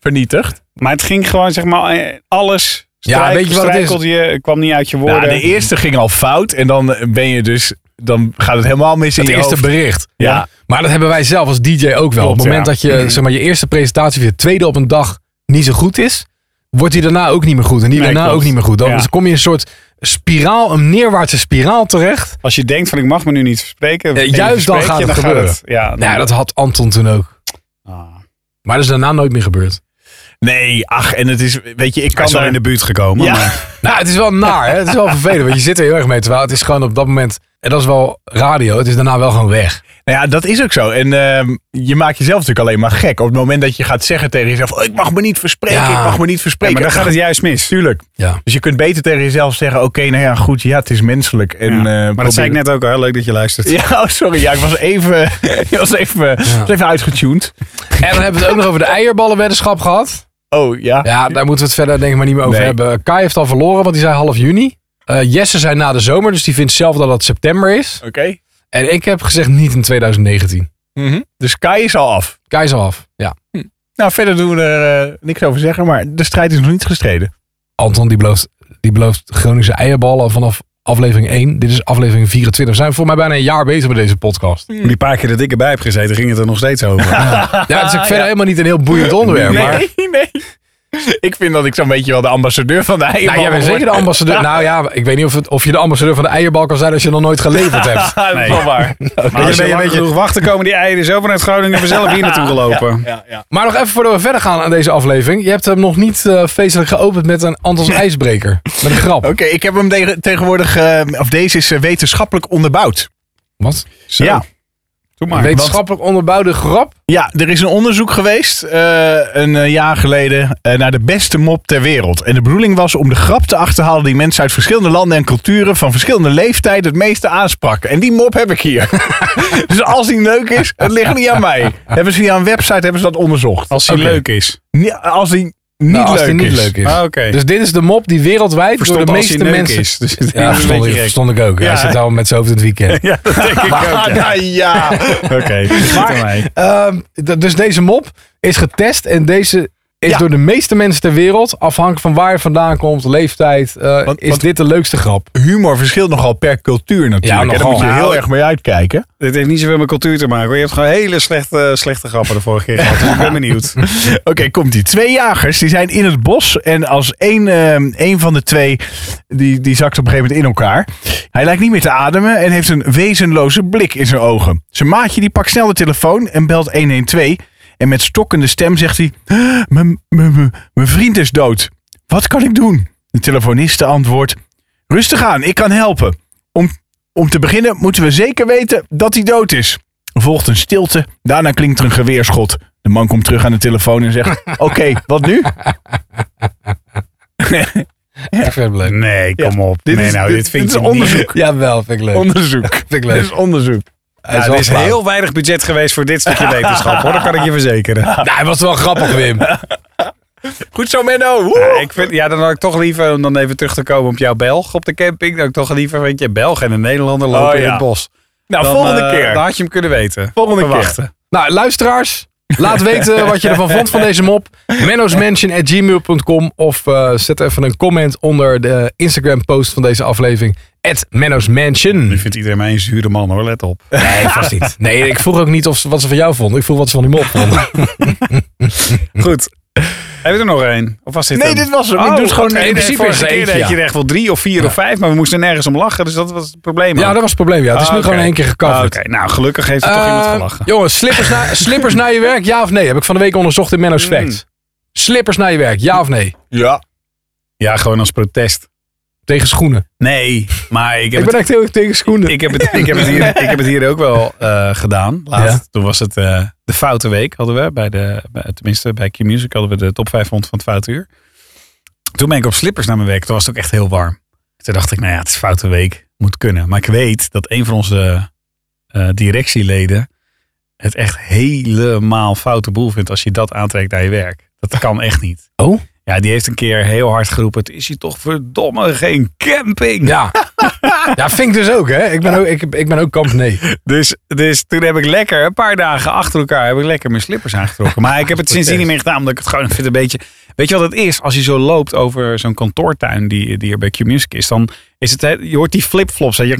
S2: Vernietigd.
S3: Maar het ging gewoon, zeg maar, eh, alles.
S1: Ja,
S3: Strijk,
S1: weet je wat het is?
S3: strijkelde je, het kwam niet uit je
S2: Nou,
S3: woorden.
S2: de eerste ging al fout. En dan ben je dus... Dan gaat het helemaal mis in
S1: Het
S2: je
S1: eerste
S2: hoofd.
S1: bericht.
S2: Ja.
S1: Maar dat hebben wij zelf als DJ ook wel. op
S2: Klopt,
S1: het moment
S2: ja.
S1: dat
S3: Mm-hmm.
S1: je, zeg maar, je eerste presentatie of je tweede op een dag niet zo goed is, wordt die daarna ook niet meer goed. En die
S3: Nee,
S1: daarna
S3: klopt.
S1: ook niet meer goed. Dan
S3: Ja.
S1: kom je in een soort spiraal, een neerwaartse spiraal terecht.
S3: Als je denkt van, ik mag me nu niet verspreken.
S1: Eh,
S3: en je
S1: juist dan
S3: verspreekt
S1: gaat
S3: je,
S1: het gebeuren.
S3: ja, dan-
S1: Nou, ja, dat had Anton toen ook.
S3: Ah. Hij
S1: Maar dat is daarna nooit meer gebeurd.
S2: Nee, ach. En het is... Weet je, ik kan
S3: is wel
S2: daar-
S3: in de buurt gekomen.
S2: Ja.
S3: maar-
S1: Nou, het is wel naar. Hè? Het is wel vervelend. Want je zit er heel erg mee. Terwijl het is gewoon op dat moment. En dat is wel radio. Het is daarna wel gewoon weg.
S2: Nou ja, dat is ook zo. En ehm, je maakt jezelf natuurlijk alleen maar gek. Op het moment dat je gaat zeggen tegen jezelf... Oh, ik mag me niet verspreken,
S1: Ja.
S2: ik mag me niet
S3: Ja,
S2: verspreken.
S3: maar dan gaat het juist mis. Tuurlijk.
S1: Ja.
S2: Dus je kunt beter tegen jezelf zeggen... Oké, nou ja, goed, ja, het is menselijk. En, eh,
S3: maar dat zei
S2: probeer-
S3: ik net ook al. Heel leuk dat je luistert.
S2: Ja, oh, sorry. Ja, ik was even, ik was even, was even uitgetuned.
S1: En dan hebben we het ook nog over de eierballenweddenschap gehad.
S2: Oh, ja.
S1: Ja, daar moeten we het verder denk ik maar niet meer over
S2: Nee.
S1: hebben. Kai heeft al verloren, want die zei half juni. Eh, Jesse zei na de zomer, dus die vindt zelf dat het september is.
S2: Oké.
S1: En ik heb gezegd niet in 2019.
S2: Mhm. Dus Kai is al af.
S1: Kai is al af. Ja.
S2: Nou, verder doen we er eh, niks over zeggen, maar de strijd is nog niet gestreden.
S1: Anton die belooft, die belooft Groningse eierballen vanaf aflevering 1. Dit is aflevering 24. We zijn voor mij bijna een jaar bezig met deze podcast.
S3: Die paar keer dat ik erbij heb gezeten, ging het er nog steeds over.
S1: Ja, het is ook verder helemaal niet een heel boeiend onderwerp. Maar,
S2: nee, nee. Ik vind dat ik zo'n beetje wel de ambassadeur van de eierbal
S1: nou, jij bent zeker de ambassadeur. Nou ja, ik weet niet of, het, of je de ambassadeur van de eierbal kan zijn als je nog nooit geleverd hebt.
S3: Nee.
S2: Wel waar.
S3: Maar als je
S2: ben
S3: een beetje genoeg wachten, komen die eieren zo vanuit Groningen vanzelf hier naartoe gelopen.
S2: Ja, ja.
S1: Maar nog even voordat we verder gaan aan deze aflevering. Je hebt hem nog niet eh, feestelijk geopend met een Antons ijsbreker. Met een grap.
S3: Oh,
S2: Oké, ik heb hem tegen- tegenwoordig, eh, of deze is eh, wetenschappelijk onderbouwd.
S1: Wat?
S3: Zo.
S2: Ja.
S3: Doe maar.
S1: Wetenschappelijk onderbouwde grap?
S2: Ja, er is een onderzoek geweest eh, een eh, jaar geleden eh, naar de beste mop ter wereld. En de bedoeling was om de grap te achterhalen die mensen uit verschillende landen en culturen van verschillende leeftijden het meeste aansprak. En die mop heb ik hier. dus als die leuk is, het ligt niet aan mij. Hebben ze via een website hebben ze dat onderzocht.
S3: Als hij
S1: Oké.
S3: leuk is.
S2: Nee, als die niet,
S1: Nou, als
S2: leuk,
S1: die niet
S2: is.
S1: leuk is.
S3: Ah, Oké.
S1: Dus dit is de mop die wereldwijd
S3: Verstond
S1: door de
S3: als hij
S1: meeste
S3: neuk
S1: mensen...
S3: is. Dus het
S1: ja,
S3: is een
S1: verstond ik,
S3: beetje gek.
S1: verstond ik ook. Hij
S2: Ja,
S1: zit
S2: hè?
S1: allemaal met zijn hoofd in het weekend.
S3: Ja, dat denk ik ook.
S2: Ah,
S3: ja.
S2: ja, ja.
S3: Oké, goed aan mij.
S1: Ehm, d- dus deze mop is getest en deze is
S2: Ja.
S1: door de meeste mensen ter wereld, afhankelijk van waar je vandaan komt, leeftijd, eh,
S2: Want-
S1: is
S2: want-
S1: dit de leukste grap.
S2: Humor verschilt nogal per cultuur natuurlijk.
S1: Ja, nogal.
S2: hè. Daar moet je heel
S3: Nou,
S2: erg mee uitkijken.
S3: Dit heeft niet zoveel met cultuur te maken. Hoor. Je hebt gewoon hele slechte, eh, slechte grappen de vorige keer gehad. Dus ik ben benieuwd.
S2: Oké, komt die. Twee jagers die zijn in het bos. En als één, ehm, één van de twee, die, die zakt op een gegeven moment in elkaar. Hij lijkt niet meer te ademen en heeft een wezenloze blik in zijn ogen. Zijn maatje die pakt snel de telefoon en belt 112. En met stokkende stem zegt hij: "Ah, mijn- mijn- mijn- Mijn vriend is dood. Wat kan ik doen? De telefoniste antwoordt: Rustig aan, ik kan helpen. Om, om te beginnen moeten we zeker weten dat hij dood is. Volgt een stilte. Daarna klinkt er een geweerschot. De man komt terug aan de telefoon en zegt: Oké, wat nu?
S1: Ik vind het leuk.
S3: Nee, kom op.
S2: Dit
S3: nee,
S2: is-
S3: nou,
S2: dit-
S3: dit, vind
S2: dit
S3: ik
S2: is
S3: niet.
S2: onderzoek.
S1: Jawel, vind ik leuk.
S2: Onderzoek.
S1: Vind ik
S2: Dit
S1: leuk.
S2: is onderzoek.
S1: Hij
S3: Ja, er
S1: wel
S3: is
S1: flauw.
S3: heel weinig budget geweest voor dit stukje wetenschap, hoor. Dat kan ik je verzekeren.
S1: Nou, hij was wel grappig, Wim.
S2: Goed zo, Menno.
S3: Ja, ik vind, ja, dan had ik toch liever, om dan even terug te komen op jouw Belg op de camping, dan had ik toch liever, weet je, Belg en een Nederlander lopen
S2: Oh,
S3: in
S2: ja.
S3: het bos.
S2: nou,
S3: Dan,
S2: volgende
S3: eh,
S2: keer.
S3: Dan had je hem kunnen weten.
S2: Volgende keer.
S3: Verwachten.
S1: Nou, luisteraars, laat weten wat je ervan vond van deze mop. mennosmansion.gmail.com of eh, zet even een comment onder de Instagram post van deze aflevering. At
S3: Nu
S1: mennosmansion.
S3: vindt iedereen mij een zure man, hoor. Let op.
S1: Nee, vast niet. Nee, ik vroeg ook niet of, ze- wat ze van jou vonden. Ik vroeg wat ze van die mop vonden.
S3: Goed. Hebben we er nog één? Of was dit
S2: Nee,
S3: hem?
S2: dit was hem. Ik
S3: Oh,
S2: doe het gewoon-
S3: oké.
S1: in
S3: Nee,
S1: principe
S3: vorige
S1: is er
S3: keer
S1: eentje,
S3: deed je
S1: ja.
S3: er echt wel drie of vier of vijf, maar we moesten nergens om lachen, dus dat was het probleem.
S1: Ja,
S3: ook.
S1: dat was het probleem. Ja. Het is nu
S3: Ah,
S1: gewoon
S3: oké.
S1: in één keer
S3: Ah,
S1: gecoverd.
S3: Oké, nou gelukkig heeft er toch iemand
S1: Eh,
S3: gelachen.
S1: Jongens, slippers, na, slippers naar je werk, ja of nee? Heb ik van de week onderzocht in
S3: Mm.
S1: Menno's Facts. Slippers naar je werk, ja of nee?
S3: Oh,
S2: Ja.
S3: Ja, gewoon als protest.
S1: Tegen schoenen.
S3: Nee, maar ik heb
S1: Ik
S3: het
S1: ben echt heel erg tegen schoenen.
S3: Ik heb het, ik heb het, hier, ik heb het hier ook wel eh, gedaan. Laatst. Toen was het eh, de Foute Week hadden we. Bij de, bij- tenminste, bij Q-Music hadden we de top 500 van het Foute Uur. Toen ben ik op slippers naar mijn werk. Toen was het ook echt heel warm. Toen dacht ik, nou ja, het is Foute Week. Moet kunnen. Maar ik weet dat een van onze eh, directieleden het echt helemaal foute boel vindt als je dat aantrekt naar je werk. Dat kan echt niet.
S1: Oh?
S3: Ja, die heeft een keer heel hard geroepen. Het is hier toch verdomme geen camping.
S1: Ja. ja, vind ik dus ook, hè? Ik ben ook, ik, ik ben ook kamp nee.
S3: Dus, dus toen heb ik lekker, een paar dagen achter elkaar, heb ik lekker mijn slippers aangetrokken. Maar ik heb het sindsdien niet meer gedaan, omdat ik het gewoon vind een beetje... Weet je wat het is? Als je zo loopt over zo'n kantoortuin die, die er bij Q-Music is, dan is het... Je hoort die flipflops. hè. Je-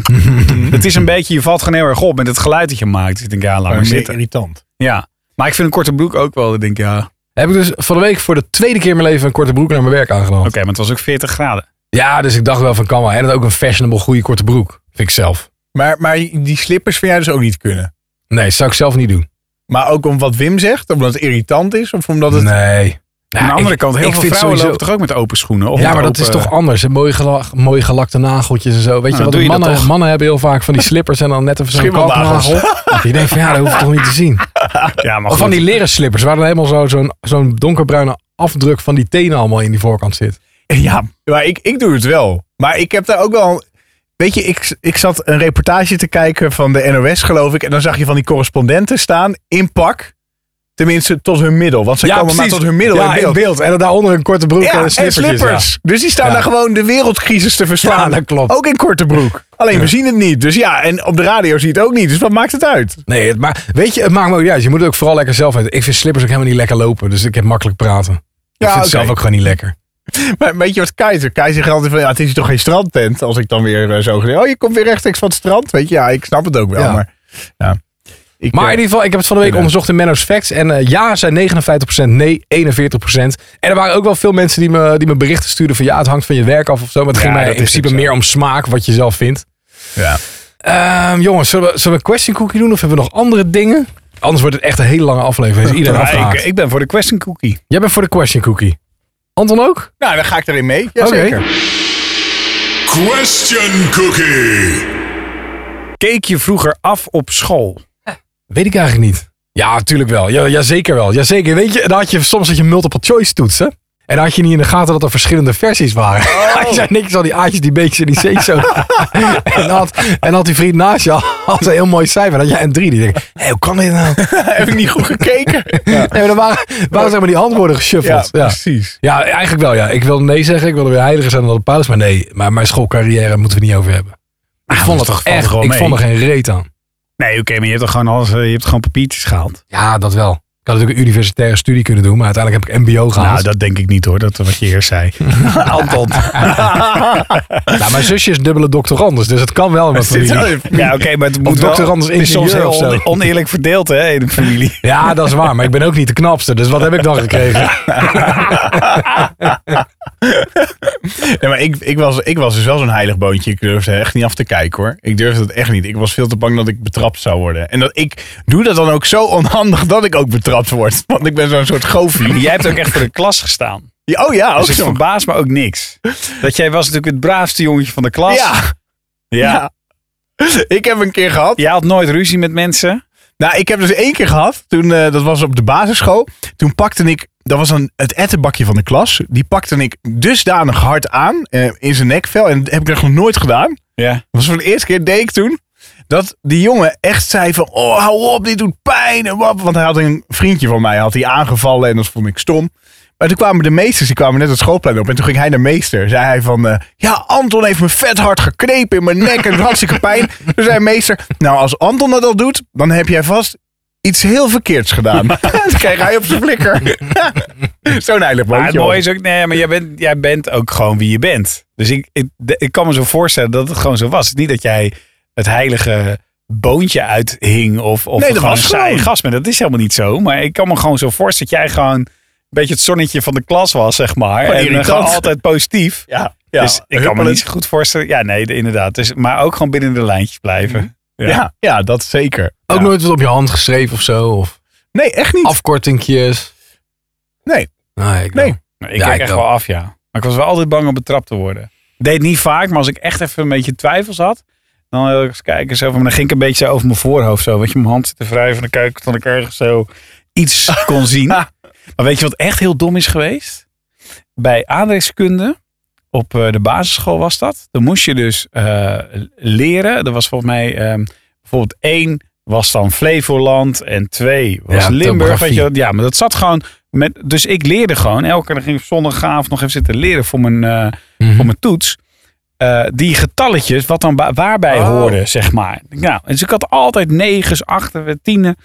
S3: Het is een beetje, je valt gewoon heel erg op met het geluid dat je maakt. Dus ik denk, ja, laat maar zitten.
S2: irritant.
S3: Ja. Maar ik vind een korte broek ook wel, ik denk, ja... Oké,
S1: Heb ik dus van de week voor de tweede keer in mijn leven een korte broek naar mijn werk aangenomen.
S3: maar het was ook 40 graden.
S1: Ja, dus ik dacht wel van kan wel. En dat ook een fashionable goede korte broek. Vind ik zelf.
S2: Maar, maar die slippers vind jij dus ook niet kunnen.
S1: Nee, zou ik zelf niet doen.
S2: Maar ook om wat Wim zegt, omdat het irritant is of omdat het...
S1: Nee. Ja,
S3: Aan de andere
S1: ik-
S3: kant, heel
S1: ik
S3: veel
S1: vind
S3: vrouwen
S1: sowieso-
S3: lopen toch ook met open schoenen? Of
S1: Ja,
S3: met
S1: maar dat is
S3: open-
S1: toch anders. hè? Mooie, gela- mooie gelakte nageltjes en zo. Weet
S3: Nou, dan
S1: je
S3: doe
S1: wat?
S3: je dat
S1: Mannen,
S3: toch?
S1: mannen hebben heel vaak van die slippers en dan net even zo'n
S2: Schimmelnagels.
S1: kalknagel. Je denkt van ja, dat hoef ik toch niet te zien.
S3: Ja, maar
S1: Of van
S3: goed.
S1: die leren slippers waar dan helemaal zo- zo'n zo'n donkerbruine afdruk van die tenen allemaal in die voorkant zit.
S2: Ja, maar ik, ik doe het wel. Maar ik heb daar ook wel... Weet je, ik, ik zat een reportage te kijken van de NOS, geloof ik. En dan zag je van die correspondenten staan in pak. Tenminste, tot hun middel. Want ze komen maar tot hun middel
S1: ja,
S2: in beeld.
S1: En dan daaronder een korte broek
S2: Ja,
S1: en
S2: en slippers.
S1: slippertjes.
S2: Dus die staan
S1: Ja.
S2: daar gewoon de wereldcrisis te verslaan.
S1: Ja, dat klopt.
S2: Ook in korte broek. Alleen we zien het niet. Dus ja, en op de radio zie je het ook niet. Dus wat maakt het uit?
S1: Nee, het ma- weet je, het maakt me ook niet uit. Je moet het ook vooral lekker zelf weten. Ik vind slippers ook helemaal niet lekker lopen, dus ik heb makkelijk praten. ik vind
S2: oké.
S1: het zelf ook gewoon niet lekker.
S2: Maar weet je wat Keizer? Keizer geldt altijd van, ja, het is hier toch geen strandtent? Als ik dan weer eh, zo gezegd, oh, je komt weer rechtstreeks van het strand. Weet je, ja, ik snap het ook wel.
S1: Ja.
S2: Maar, ja. Ik,
S1: Maar
S2: eh,
S1: in ieder geval, ik heb het van de week onderzocht in Menno's Facts. En eh, ja, zijn 59%, nee, 41%. En er waren ook wel veel mensen die me, die me berichten stuurden van ja, het hangt van je werk af of zo. Maar het
S2: Ja,
S1: ging mij
S2: dat
S1: in
S2: is
S1: principe
S2: ook zo.
S1: meer om smaak, wat je zelf vindt.
S2: ja.
S1: Ehm, jongens, zullen we, zullen we een question cookie doen of hebben we nog andere dingen? Anders wordt het echt een hele lange aflevering. Is iedereen
S3: Ja,
S1: afgehaakt.
S3: ik, ik ben voor de question cookie.
S1: Jij bent voor de question cookie. Anton ook?
S2: Nou, dan ga ik erin mee. Ja,
S1: Oké.
S2: zeker.
S4: Question Cookie.
S3: Keek je vroeger af op school?
S1: Weet ik eigenlijk niet. Ja, natuurlijk wel. Ja, jazeker wel. Jazeker. Weet je, dan had je soms dat je multiple choice toetsen. En dan had je niet in de gaten dat er verschillende versies waren. Hij zei niks al die A'tjes, die B'tjes en die C's zo. en, dan had, en dan had die vriend naast je al- had een heel mooi cijfer. Dan had jij een 3. Die denkt, hé, hoe kan dit nou?
S2: Heb ik niet goed gekeken? Ja,
S1: Nee, maar dan waren, waren zeg maar die antwoorden geshuffeld. Ja, ja.
S2: precies.
S1: eigenlijk wel. Ja. Ik wilde nee zeggen. Ik wilde weer heiliger zijn dan de paus. Maar nee, maar mijn schoolcarrière moeten we niet over hebben. Ik vond
S3: dat
S1: het
S3: valt
S1: echt,
S3: gewoon
S1: ik
S3: mee.
S1: vond er geen reet aan.
S3: Nee, oké, maar je hebt toch gewoon alles, eh, je hebt gewoon papiertjes gehaald.
S1: Ja, dat wel. Ik had natuurlijk een universitaire studie kunnen doen, maar uiteindelijk heb ik MBO gehaald.
S3: Nou, dat denk ik niet hoor, dat wat je eerst zei. Anton.
S1: Nou, mijn zusje is dubbele doctorandus, dus het kan wel in mijn familie.
S3: ja, oké, maar het moet
S1: dokter
S3: wel,
S1: Anders
S3: het is soms
S1: ingenieur
S3: heel
S1: of zo.
S3: on- oneerlijk verdeeld hè, in de familie.
S1: Ja, dat is waar, maar ik ben ook niet de knapste, dus wat heb ik dan gekregen?
S2: Nee, maar ik, ik, was, ik was dus wel zo'n heilig boontje. Ik durfde echt niet af te kijken hoor. Ik durfde het echt niet. Ik was veel te bang dat ik betrapt zou worden. En dat ik doe dat dan ook zo onhandig dat ik ook betrapt word. Want ik ben zo'n soort goofie.
S3: Jij hebt ook echt voor de klas gestaan.
S2: Ja, Oh ja, ook
S3: Dus ik
S2: zo.
S3: verbaas me ook niks. Dat jij was natuurlijk het braafste jongetje van de klas.
S2: Ja.
S3: ja.
S2: Ik heb een keer gehad.
S3: Jij had nooit ruzie met mensen.
S2: Nou, ik heb dus één keer gehad, toen, eh, dat was op de basisschool. Toen pakte ik, dat was een, het ettenbakje van de klas. Die pakte ik dusdanig hard aan eh, in zijn nekvel. En dat heb ik echt nog nooit gedaan.
S3: Ja.
S2: Dat was voor de eerste keer, deed ik toen. Dat die jongen echt zei van, oh hou op, dit doet pijn. En wap. Want hij had een vriendje van mij, had hij aangevallen en dat vond ik stom. Maar toen kwamen de meesters, die kwamen net het schoolplein op. En toen ging hij naar meester. Zei hij van, eh, ja Anton heeft me vet hard geknepen in mijn nek en het had hartstikke pijn. Toen zei meester, nou als Anton dat al doet, dan heb jij vast iets heel verkeerds gedaan. toen kreeg hij op zijn flikker. Zo'n heilig
S3: Maar het
S2: bootje.
S3: mooie is ook, nee, maar jij bent, jij bent ook gewoon wie je bent. Dus ik, ik, de- ik kan me zo voorstellen dat het gewoon zo was. Het is Niet dat jij het heilige boontje uithing of, of
S2: Nee, dat
S3: gewoon
S2: was
S3: een saaie
S2: gewoon.
S3: gast bent. Dat is helemaal niet zo. Maar ik kan me gewoon zo voorstellen dat jij gewoon een beetje het zonnetje van de klas was, zeg maar.
S2: Gewoon
S3: en eh,
S2: irritant.
S3: gewoon altijd positief.
S2: Ja, ja,
S3: dus ik kan me
S2: huppelend.
S3: niet zo goed voorstellen. Ja, nee, de- inderdaad. Dus, maar ook gewoon binnen de lijntjes blijven.
S2: Ja. Ja, ja, dat zeker.
S1: Ook
S2: Ja.
S1: nooit wat op je hand geschreven of zo. Of
S2: Nee, echt niet.
S1: afkortingjes.
S2: Nee.
S1: Nee. Ik
S2: Nee.
S1: wel.
S3: Maar
S1: Ja,
S3: Nou, ik kijk
S1: ik
S3: echt
S1: wel.
S3: wel af, ja. Maar ik was wel altijd bang om betrapt te worden. Deed niet vaak, maar als ik echt even een beetje twijfels had, dan wil ik eens kijken. Zo, van- dan ging ik een beetje zo over mijn voorhoofd zo. Weet je, mijn hand zit te wrijven. Dan kijk ik dat ik ergens zo iets kon zien. Maar weet je wat echt heel dom is geweest? Bij aardrijkskunde, op eh, de basisschool was dat. Dan moest je dus eh, leren. Er was volgens mij ehm, bijvoorbeeld één was dan Flevoland en twee was
S1: Ja,
S3: Limburg. Weet
S1: topografie.
S3: je, wat? ja, maar dat zat gewoon met, dus ik leerde gewoon. Elke keer dan ging ik op zondagavond nog even zitten leren voor mijn, eh,
S1: Mhm.
S3: voor mijn toets. eh, die getalletjes, wat dan ba- waarbij
S1: Oh.
S3: hoorde, zeg maar. Nou, dus ik had altijd negens, achten, tienen.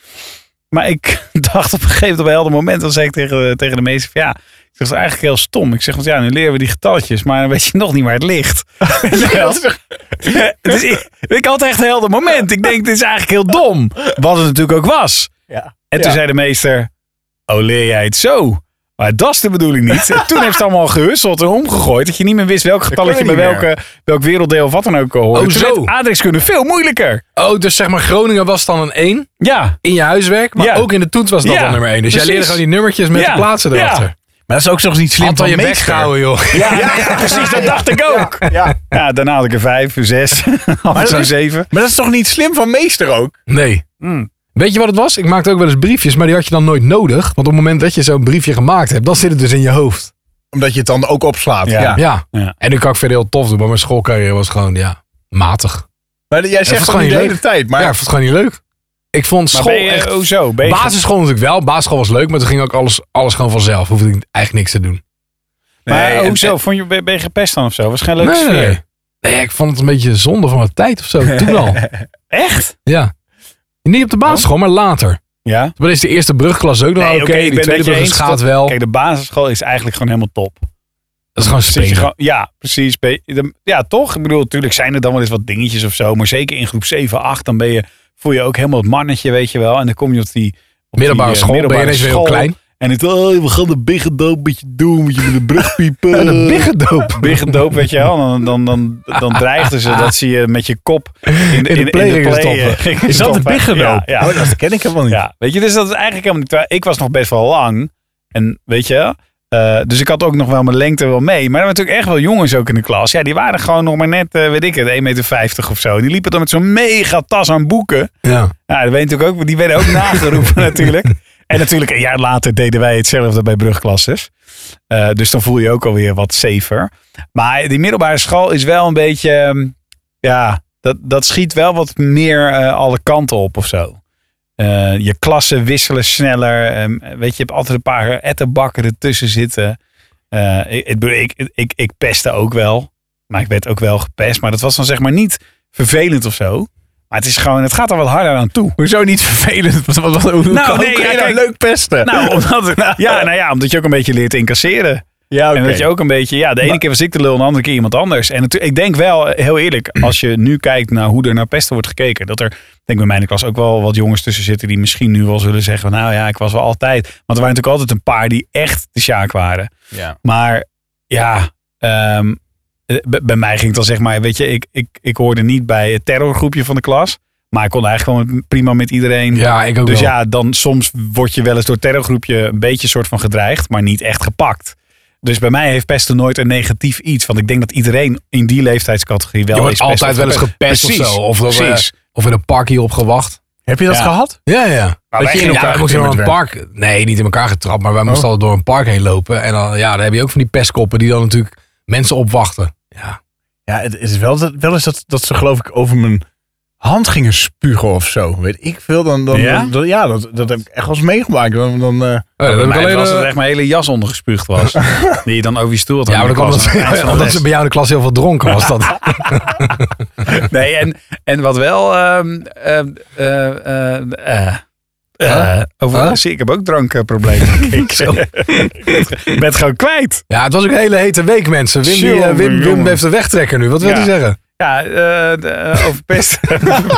S3: Maar ik dacht op een gegeven moment, op een helder moment, dan zei ik tegen, de- tegen de meester van ja, ik zeg, dat is eigenlijk heel stom. Ik zeg, want ja, nu leren we die getalletjes, maar dan weet je nog niet waar het ligt. Weet je wel? dus ik, ik had echt een helder moment. Ik denk, dit is eigenlijk heel dom. Wat het natuurlijk ook was.
S2: Ja.
S3: En toen
S2: Ja.
S3: zei de meester, oh leer jij het zo? Maar dat is de bedoeling niet. En toen heeft ze allemaal gehusseld en omgegooid. Dat je niet meer wist welk getalletje bij
S2: kunnen we niet
S3: welke, welk werelddeel of wat dan ook eh, hoorde.
S1: Oh,
S3: toen
S1: zo.
S3: werd aardrijkskunde veel moeilijker.
S1: Oh, dus zeg maar Groningen was dan een 1
S3: Ja.
S1: in je huiswerk. Maar
S3: Ja.
S1: ook in de toets was dat
S3: Ja,
S1: dan nummer 1. Dus jij
S3: precies.
S1: leerde gewoon die nummertjes met
S3: Ja,
S1: de plaatsen
S3: ja.
S1: erachter.
S2: Maar dat is ook toch niet
S1: Ja.
S2: slim
S1: Had al
S2: van
S1: je bek
S2: meester.
S1: gehouden, joh.
S3: Ja, precies. Dat dacht ik ook. Ja,
S2: Ja.
S3: daarna had ik er vijf, een zes, af en
S2: dat
S3: toe
S2: is-
S3: zeven.
S2: Maar dat is toch niet slim van meester ook?
S1: Nee.
S3: Mm.
S1: Weet je wat het was? Ik maakte ook wel eens briefjes, maar die had je dan nooit nodig. Want op het moment dat je zo'n briefje gemaakt hebt, dan zit het dus in je hoofd.
S2: Omdat je het dan ook opslaat.
S3: Ja.
S1: Ja.
S3: Ja.
S1: En nu kan ik verder heel tof doen, maar mijn schoolcarrière was gewoon, ja, matig.
S2: Maar jij
S1: vond
S2: zegt
S1: ik
S2: het niet de
S1: leuk.
S2: hele tijd. Maar
S1: ja, ik vond het gewoon niet leuk. Ik vond
S3: Maar
S1: school
S3: ben je,
S1: echt...
S3: oh zo, ben je-
S1: Basisschool natuurlijk wel. Basisschool was leuk, maar toen ging ook alles, alles gewoon vanzelf. Hoefde ik eigenlijk niks te doen.
S3: maar
S2: Nee,
S3: oh
S2: en-
S3: zo, vond je, ben ben je gepest dan of zo? Waarschijnlijk een leuke sfeer.
S1: Nee, ik vond het een beetje zonde van mijn tijd of zo. Toen al.
S3: Echt?
S1: Ja. Niet op de basisschool, maar later.
S3: Ja.
S1: Maar is de eerste brugklas ook nog
S3: Nee,
S1: oké.
S3: Nou, oké, ik
S1: de
S3: ben
S1: tweede
S3: met je
S1: brug
S3: eens
S1: gaat
S3: dat-
S1: wel.
S3: Kijk, de basisschool is eigenlijk gewoon helemaal top.
S1: dat is gewoon
S3: Zit je
S1: spelen.
S3: gewoon- ja, precies. Ben je- dan- Ja, toch? Ik bedoel, natuurlijk zijn er dan wel eens wat dingetjes of zo. Maar zeker in groep 7, 8, dan ben je, voel je ook helemaal het mannetje, weet je wel. En dan kom je op die... Op
S1: Middelbare
S3: die, eh,
S1: school, ben je
S3: middelbare
S1: ineens weer heel
S3: school.
S1: klein.
S3: En het, oh, we gaan de biggendoop met je doen, met je met de brugpiepen.
S1: En een biggendoop.
S3: Biggendoop, weet je wel. Dan, dan, dan, dan dreigden ze dat ze je met je kop in de, in,
S1: de play gingen stoppen.
S3: gingen
S1: Is dat de
S3: stoppen.
S1: biggendoop?
S3: Ja, ja.
S2: Oh, dat ken ik helemaal niet.
S3: Ja, weet je, dus dat is eigenlijk helemaal niet waar. Ik was nog best wel lang. En weet je, eh, dus ik had ook nog wel mijn lengte wel mee. Maar er waren natuurlijk echt wel jongens ook in de klas. Ja, die waren gewoon nog maar net, eh, weet ik het, 1,50 meter of zo. En die liepen dan met zo'n mega tas aan boeken.
S1: Ja.
S3: Ja, dat weet je natuurlijk ook, die werden ook nageroepen natuurlijk. En natuurlijk, een jaar later deden wij hetzelfde bij brugklasses. Eh, dus dan voel je ook alweer wat safer. Maar die middelbare school is wel een beetje, ehm, ja, dat, dat schiet wel wat meer eh, alle kanten op of zo. Eh, je klassen wisselen sneller. ehm, weet je, je hebt altijd een paar ettenbakken ertussen zitten. Eh, ik, ik, bedoel, ik, ik, ik pestte ook wel. Maar ik werd ook wel gepest. Maar dat was dan zeg maar niet vervelend of zo. Maar het is gewoon, het gaat er wat harder aan toe.
S2: Hoezo niet vervelend? Wat, wat, wat- hoe
S3: Nou,
S2: kan- hoe
S3: nee,
S2: kun
S3: ja,
S2: je nou
S3: kijk.
S2: leuk pesten?
S3: Nou, omdat, ja, nou ja, omdat je ook een beetje leert incasseren.
S2: ja, oké.
S3: En dat je ook een beetje, ja, de ene
S2: Maar-
S3: keer was ik de lul, en de andere keer iemand anders. En natuurlijk, ik denk wel, eh, heel eerlijk, als je nu kijkt naar hoe er naar pesten wordt gekeken, dat er, ik denk bij mij in de klas ook wel wat jongens tussen zitten die misschien nu wel zullen zeggen, van, nou ja, ik was wel altijd. Want er waren natuurlijk altijd een paar die echt de sjaak waren.
S2: Ja.
S3: Maar ja, ehm, eh, bij- bij mij ging het dan zeg maar, weet je, ik, ik, ik hoorde niet bij het terrorgroepje van de klas, maar ik kon eigenlijk gewoon prima met iedereen.
S1: ja, ik ook
S3: Dus
S1: wel.
S3: ja, dan soms word je wel eens door het terrorgroepje een beetje soort van gedreigd, maar niet echt gepakt. Dus bij mij heeft pesten nooit een negatief iets. Want ik denk dat iedereen in die leeftijdscategorie wel
S1: je wordt
S3: eens pest
S1: altijd
S3: of
S1: wel eens
S3: gepest-
S1: gepest of
S3: Precies,
S1: zo. Of, dat we-
S3: precies.
S1: of in een park hierop gewacht.
S2: Heb je dat
S3: Ja.
S2: gehad?
S1: Ja, ja.
S3: wij
S1: Dat je in
S3: gingen
S1: elkaar
S3: elkaar
S1: we moesten door een
S2: getimmerd
S1: park. Nee, niet in elkaar getrapt, maar wij
S3: Oh.
S1: moesten al door een park heen lopen. En dan, ja, dan heb je ook van die pestkoppen die dan natuurlijk mensen opwachten. Oh, Ja.
S2: Ja, het is wel, dat, wel eens dat, dat ze geloof ik over mijn hand gingen spugen of zo. Weet ik veel. Dan, dan,
S3: Ja?
S2: dan- dan- ja dat, dat heb ik echt wel eens meegemaakt. Dan, dan, eh,
S1: Oh, dat heb ik
S3: Bij mij
S1: alleen,
S3: was
S1: eh,
S3: dat echt mijn hele jas ondergespuugd was. die je dan over je stoel had.
S1: ja, maar
S3: hangen.
S1: dan kwam dat,
S3: Ik was aan het eind van de
S1: omdat
S3: les.
S1: ze bij jou in de klas heel veel dronken was. Dat.
S3: Nee, en, en wat wel... ehm, ehm, eh, eh, eh, eh, over,
S1: Huh?
S3: zie Ik heb ook drankproblemen. Ik zo. Ik ben het gewoon kwijt.
S1: Ja, het was ook een hele hete week, mensen. Wim, die, eh,
S3: Jongen,
S1: Wim, Wim
S3: jongen.
S1: heeft een wegtrekker nu. Wat wil
S3: Ja.
S1: hij zeggen?
S3: Ja, eh, eh, over pesten.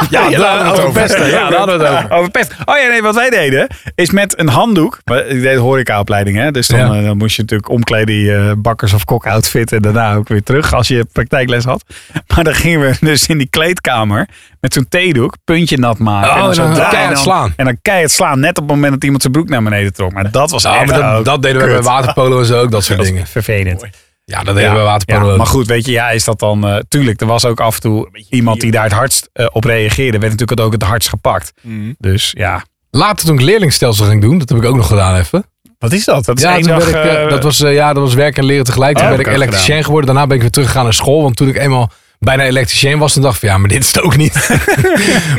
S3: ja,
S1: daar hadden we het over. Ja, daar hadden we het
S3: over. pesten. Oh ja, nee, wat wij deden is met een handdoek. maar Ik deed horecaopleiding, hè. Dus dan,
S1: Ja.
S3: eh, dan moest je natuurlijk omkleden in je eh, bakkers- of kokoutfit. En daarna ook weer terug als je praktijkles had. Maar dan gingen we dus in die kleedkamer met zo'n theedoek, puntje nat maken.
S1: Oh, en
S3: zo
S1: dan
S3: draaien
S1: keihard
S3: en
S1: slaan.
S3: En dan keihard slaan, net op het moment dat iemand zijn broek naar beneden trok. Maar dat was
S1: Ja,
S3: echt
S1: maar dat,
S3: ook
S1: dat deden we bij
S3: nou, kut.
S1: waterpolo en zo ook, dat soort dingen.
S3: vervelend.
S1: Ja, dat deden we bij
S3: Ja,
S1: waterpolo ook.
S3: maar goed, weet je, ja, is dat dan... eh, tuurlijk, er was ook af en toe iemand die daar het hardst eh, op reageerde. Werd natuurlijk ook het hardst gepakt. Dus ja,
S1: Later toen ik leerlingstelsel ging doen, dat heb ik ook nog gedaan even.
S2: wat is dat?
S3: dat is
S1: Ja,
S3: één
S1: toen
S3: dag...
S1: werd ik, eh,
S3: eh,
S1: dat was, eh, ja, dat was werk en leren tegelijk. Toen
S3: Oh,
S1: ben
S3: heb
S1: ik
S3: ik ook
S1: elektricien geworden. Daarna ben ik weer teruggegaan naar school. Want toen ik eenmaal bijna elektricien was, toen dacht ik van ja, maar dit is het ook niet.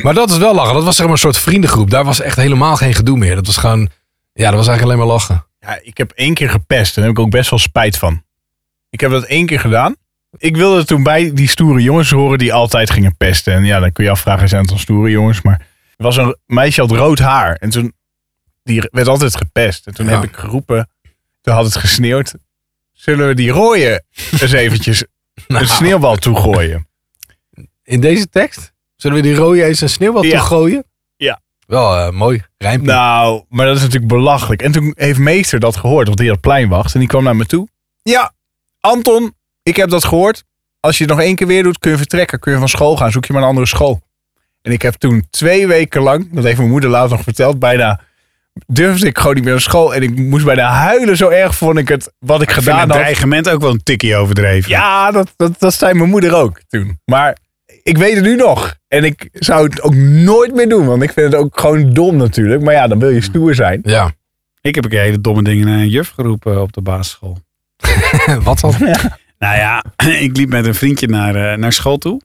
S1: maar dat is wel lachen. Dat was zeg maar een soort vriendengroep. Daar was echt helemaal geen gedoe meer. Dat was gewoon, ja, dat was eigenlijk alleen maar lachen.
S2: Ja, ik heb één keer gepest en daar heb ik ook best wel spijt van. Ik heb dat één keer gedaan. Ik wilde toen bij die stoere jongens horen die altijd gingen pesten. En ja, dan kun je afvragen, zijn het dan stoere jongens? Maar er was een meisje had rood haar. En toen, die werd altijd gepest. En toen
S1: Ja.
S2: heb ik geroepen, toen had het gesneeuwd. Zullen we die rooien eens eventjes een sneeuwbal toegooien?
S1: Nou, In deze tekst zullen we die rode eens een sneeuwbal
S2: Ja.
S1: toegooien?
S2: Ja.
S1: Wel eh, mooi. Rijmpje.
S2: Nou, maar dat is natuurlijk belachelijk. En toen heeft meester dat gehoord, want die had pleinwacht. En die kwam naar me toe. Ja, Anton, ik heb dat gehoord. Als je het nog één keer weer doet, kun je vertrekken. Kun je van school gaan, zoek je maar een andere school. En ik heb toen twee weken lang, dat heeft mijn moeder later nog verteld, bijna durfde ik gewoon niet meer naar school. En ik moest bijna huilen, zo erg vond ik het, wat ik
S3: ik vind het
S2: gedaan had.
S3: dreigement ook wel een tikkie overdreven.
S2: Ja, dat, dat, dat zei mijn moeder ook toen. Maar ik weet het nu nog. En ik zou het ook nooit meer doen, want ik vind het ook gewoon dom natuurlijk. Maar ja, dan wil je stoer zijn.
S1: Ja.
S3: Ik heb een keer hele domme dingen naar een juf geroepen op de basisschool.
S1: Wat dan?
S3: Nou ja, ik liep met een vriendje naar, eh, naar school toe.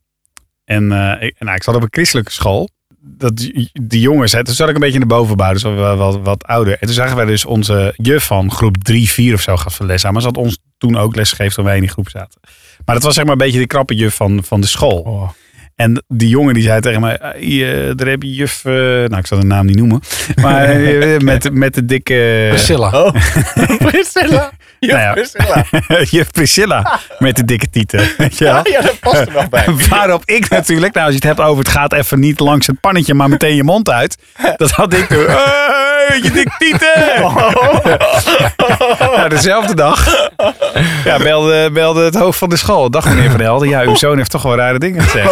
S3: En eh, ik, nou, ik zat op een christelijke school. Dat, die- die jongens, hè, toen zat ik een beetje in de bovenbouw, dus wat, wat, wat ouder. En toen zagen wij dus onze juf van groep 3, 4 of zo gaat van les aan. Maar ze had ons toen ook lesgegeven toen wij in die groep zaten. Maar dat was zeg maar een beetje de krappe juf van, van de school. En die jongen die zei tegen mij, "Ai, eh, daar heb je juf, eh," nou ik zal de naam niet noemen. Maar eh, met, met de dikke...
S1: Priscilla.
S2: Oh, Priscilla. Ja,
S3: Nou ja.
S2: Priscilla.
S3: juf Priscilla met de dikke tieten. Weet je wel?
S2: Ja, dat past er wel bij.
S3: Waarop ik natuurlijk, nou als je het hebt over het gaat even niet langs het pannetje, maar meteen je mond uit. Dat had ik toen. Hey, je dik tieten! Nou, dezelfde dag ja, belde, belde het hoofd van de school. Dag meneer Van Helden, ja uw zoon heeft toch wel rare dingen gezegd.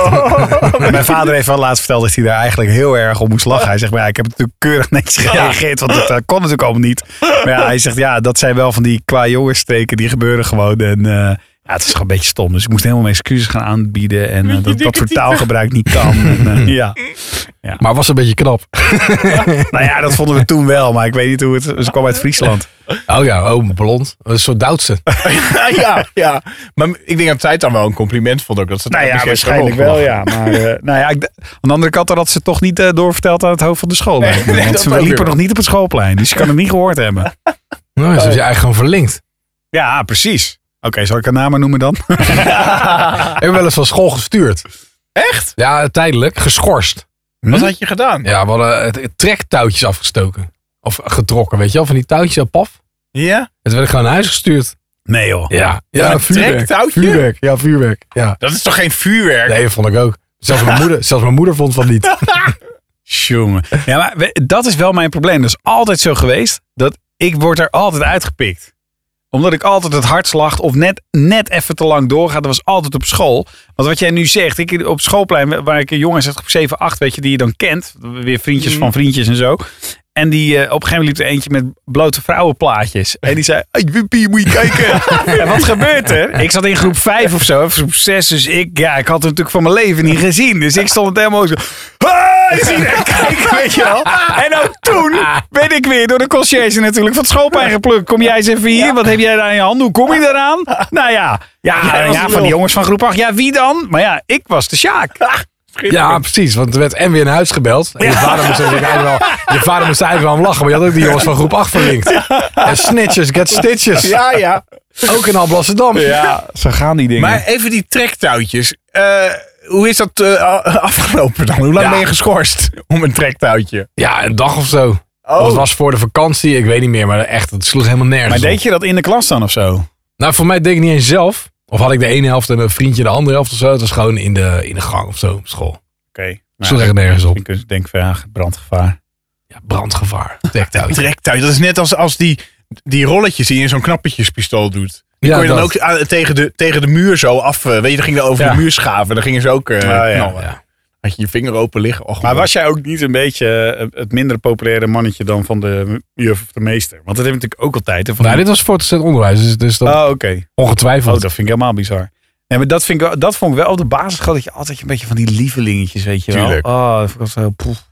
S3: Mijn vader heeft wel laatst verteld dat hij daar eigenlijk heel erg om moest lachen. Hij zegt, maar ja, ik heb natuurlijk keurig netjes gereageerd, want dat eh, kon natuurlijk allemaal niet. Maar ja, hij zegt, ja, dat zijn wel van die qua jongensstreken, die gebeuren gewoon. En eh, ja, het is gewoon een beetje stom. Dus ik moest helemaal mijn excuses gaan aanbieden en eh, dat ik dat voor taalgebruik niet kan. En, eh, ja.
S1: Maar was een beetje knap.
S3: Nou ja, dat vonden we toen wel, maar ik weet niet hoe het... Ze kwam uit Friesland.
S1: Oh ja, oh, blond. Een soort Duitse.
S2: Oh. ja, ja. Maar ik denk dat zij het dan wel een compliment vond ook. Dat ze het
S3: Nou ja,
S2: hebben
S3: waarschijnlijk
S2: geroepen.
S3: wel, ja. Maar eh, nou ja, ik d- aan de andere kant had ze het toch niet eh, doorverteld aan het hoofd van de school.
S2: Nee,
S3: lijkt me.
S2: nee,
S3: want
S2: dat
S3: ze
S2: ook weer
S3: liepen
S2: wel.
S3: nog niet op het schoolplein, dus je kan het niet gehoord hebben.
S1: Nou, dus je eigenlijk gewoon verlinkt.
S3: Ja, precies. Oké, zal ik haar namen noemen dan?
S1: Ik ben wel eens van school gestuurd.
S2: Echt?
S1: Ja, tijdelijk. Geschorst.
S2: Wat
S3: Hm?
S2: had je gedaan?
S1: Ja, we hadden het, het trektouwtjes afgestoken. Of getrokken, weet je wel. Van die touwtjes, zo, paf.
S2: Ja?
S1: Het werd ik gewoon naar huis gestuurd.
S3: Nee joh.
S1: Ja,
S2: Met
S1: ja
S2: een
S1: vuurwerk.
S2: trektouwtje?
S1: Vuurwerk, ja, vuurwerk. Ja.
S2: Dat is toch geen vuurwerk?
S1: Nee, dat vond ik ook. Zelfs mijn, moeder, zelfs mijn moeder vond van niet.
S3: Tjonge. Ja, maar we- dat is wel mijn probleem. Dat is altijd zo geweest. Dat ik word er altijd uitgepikt. Omdat ik altijd het hart slacht of net, net even te lang doorga. Dat was altijd op school. Want wat jij nu zegt, ik op schoolplein waar ik jongens uit groep 7, 8, weet je, die je dan kent. Weer vriendjes van vriendjes en zo. En die, eh, op een gegeven moment liep er eentje met blote vrouwenplaatjes. En die zei, hey, Wimpy, moet je kijken. en wat gebeurt er? Ik zat in groep 5 of zo, of groep 6. Dus ik, ja, ik had het natuurlijk van mijn leven niet gezien. Dus ik stond het helemaal zo... Hey! Zie je, kijk, weet je wel. En ook toen ben ik weer door de conciërge natuurlijk van het schoolpijn geplukt. Kom jij eens even hier, wat heb jij daar aan je handdoek? Kom je eraan? Nou ja, ja, ja,
S2: dat is
S3: van
S2: lul.
S3: die jongens van groep 8. Ja, wie dan? Maar ja, ik was de Sjaak.
S1: Ja, precies. Want er werd en weer naar huis gebeld. En je, vader moest natuurlijk eigenlijk wel, je vader moest eigenlijk wel om lachen. Maar je had ook die jongens van groep 8 verlinkt. En snitches get stitches.
S2: Ja, ja.
S1: Ook in Alblasserdam.
S3: Ja, zo gaan die dingen.
S2: Maar even die trektouwtjes. Eh, hoe is dat eh, a- afgelopen dan? Hoe lang
S1: Ja.
S2: ben je geschorst om een trektouwtje?
S1: Ja, een dag of zo.
S3: Oh.
S1: Of het was voor de vakantie. Ik weet niet meer. Oh. Maar echt, het sloeg helemaal nergens
S3: maar
S1: op.
S3: deed je dat in de klas dan of zo?
S1: Nou, voor mij deed ik niet eens zelf. Of had ik de ene helft en een vriendje de andere helft of zo. Het was gewoon in de, in de gang of zo op school.
S3: Oké.
S1: Sloeg echt nergens op.
S3: Ik dus denk vraag, brandgevaar.
S1: Ja, brandgevaar. Dekt uit.
S2: Trektouwtje, dat is net als, als die, die rolletjes die je in zo'n knappetjespistool doet. Die
S1: Ja,
S2: kon je dan
S1: dat.
S2: ook aan- tegen, de, tegen de muur zo af. eh, weet je, dan ging je over
S3: Ja. Oh,
S2: de muur schaven. Dan gingen ze ook eh
S3: ja.
S2: knallen.
S1: Ja.
S2: Had je je vinger open liggen. Och,
S3: Maar
S2: man.
S3: was jij ook niet een beetje eh, het minder populaire mannetje dan van de juf of de meester? Want dat heb ik natuurlijk ook altijd. hè, Van
S1: Nou, dit was voortgezet onderwijs. Dus, dus dat
S3: Oh, oké.
S1: ongetwijfeld.
S3: Oh, dat vind ik helemaal bizar. Nee, maar dat, vind ik, wel- dat vond ik wel op de basis dat je altijd een beetje van die lievelingetjes, weet je wel.
S2: Tuurlijk.
S3: Oh, dat vond ik altijd heel poef.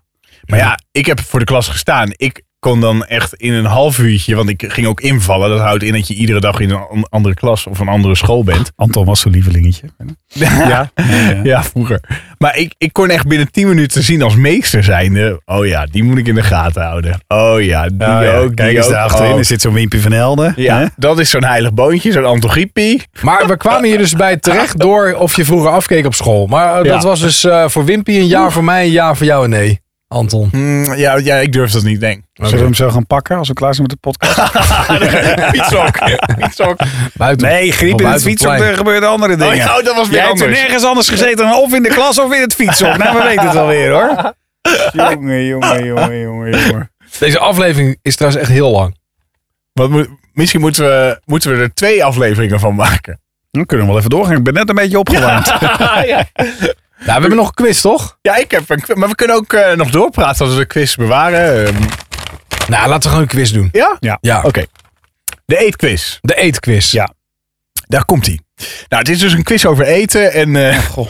S2: Maar ja, ik heb voor de klas gestaan. Ik kon dan echt in een half uurtje, want ik ging ook invallen. Dat houdt in dat je iedere dag in een an- andere klas of een andere school bent.
S3: Anton was zo'n lievelingetje.
S2: Ja, ja vroeger. Maar ik, ik kon echt binnen 10 minuten zien als meester zijnde. Oh ja, die moet ik in de gaten houden. Oh ja, die ook.
S3: Kijk
S2: die
S3: eens
S2: ook.
S3: daar achterin,
S2: Oh.
S3: er zit zo'n Wimpie van Helden. hè?
S2: Ja, dat is zo'n heilig boontje, zo'n antogiepie.
S1: Maar we kwamen hier dus bij terecht door of je vroeger afkeek op school. Maar eh, dat
S2: Ja.
S1: was dus eh, voor Wimpy een jaar voor mij, een jaar voor jou en nee, Anton.
S2: Mm, ja, ja, ik durf dat niet, denk ik.
S3: Zullen we hem zo gaan pakken als we klaar zijn met de podcast?
S2: Fietshok. Fietshok.
S1: Buiten.
S3: Nee, griep in
S1: Buiten
S3: het
S1: het
S3: fietshok,
S1: plein.
S3: er gebeurden andere
S2: Oh,
S3: dingen.
S2: ja, oh, dat was weer
S3: Jij hebt er
S2: anders.
S3: nergens anders gezeten dan of in de klas of in het fietshok. Nou, we weten het alweer hoor. Jongen, jongen, jongen, jongen, jongen.
S1: Deze aflevering is trouwens echt heel lang.
S2: Wat moet- misschien moeten we, moeten we er twee afleveringen van maken.
S3: Dan kunnen we wel even doorgaan. Ik ben net een beetje opgewarmd.
S2: ja.
S1: Nou, we hebben nog een quiz, toch?
S2: Ja, ik heb een quiz. Maar we kunnen ook eh, nog doorpraten als we de quiz bewaren. Ehm,
S1: Nou, laten we gewoon een quiz doen.
S2: ja?
S3: Ja.
S1: Ja,
S2: Oké. De eetquiz.
S1: de eetquiz.
S3: Ja.
S2: Daar komt hij. Nou, het is dus een quiz over eten. En eh,
S1: Goh.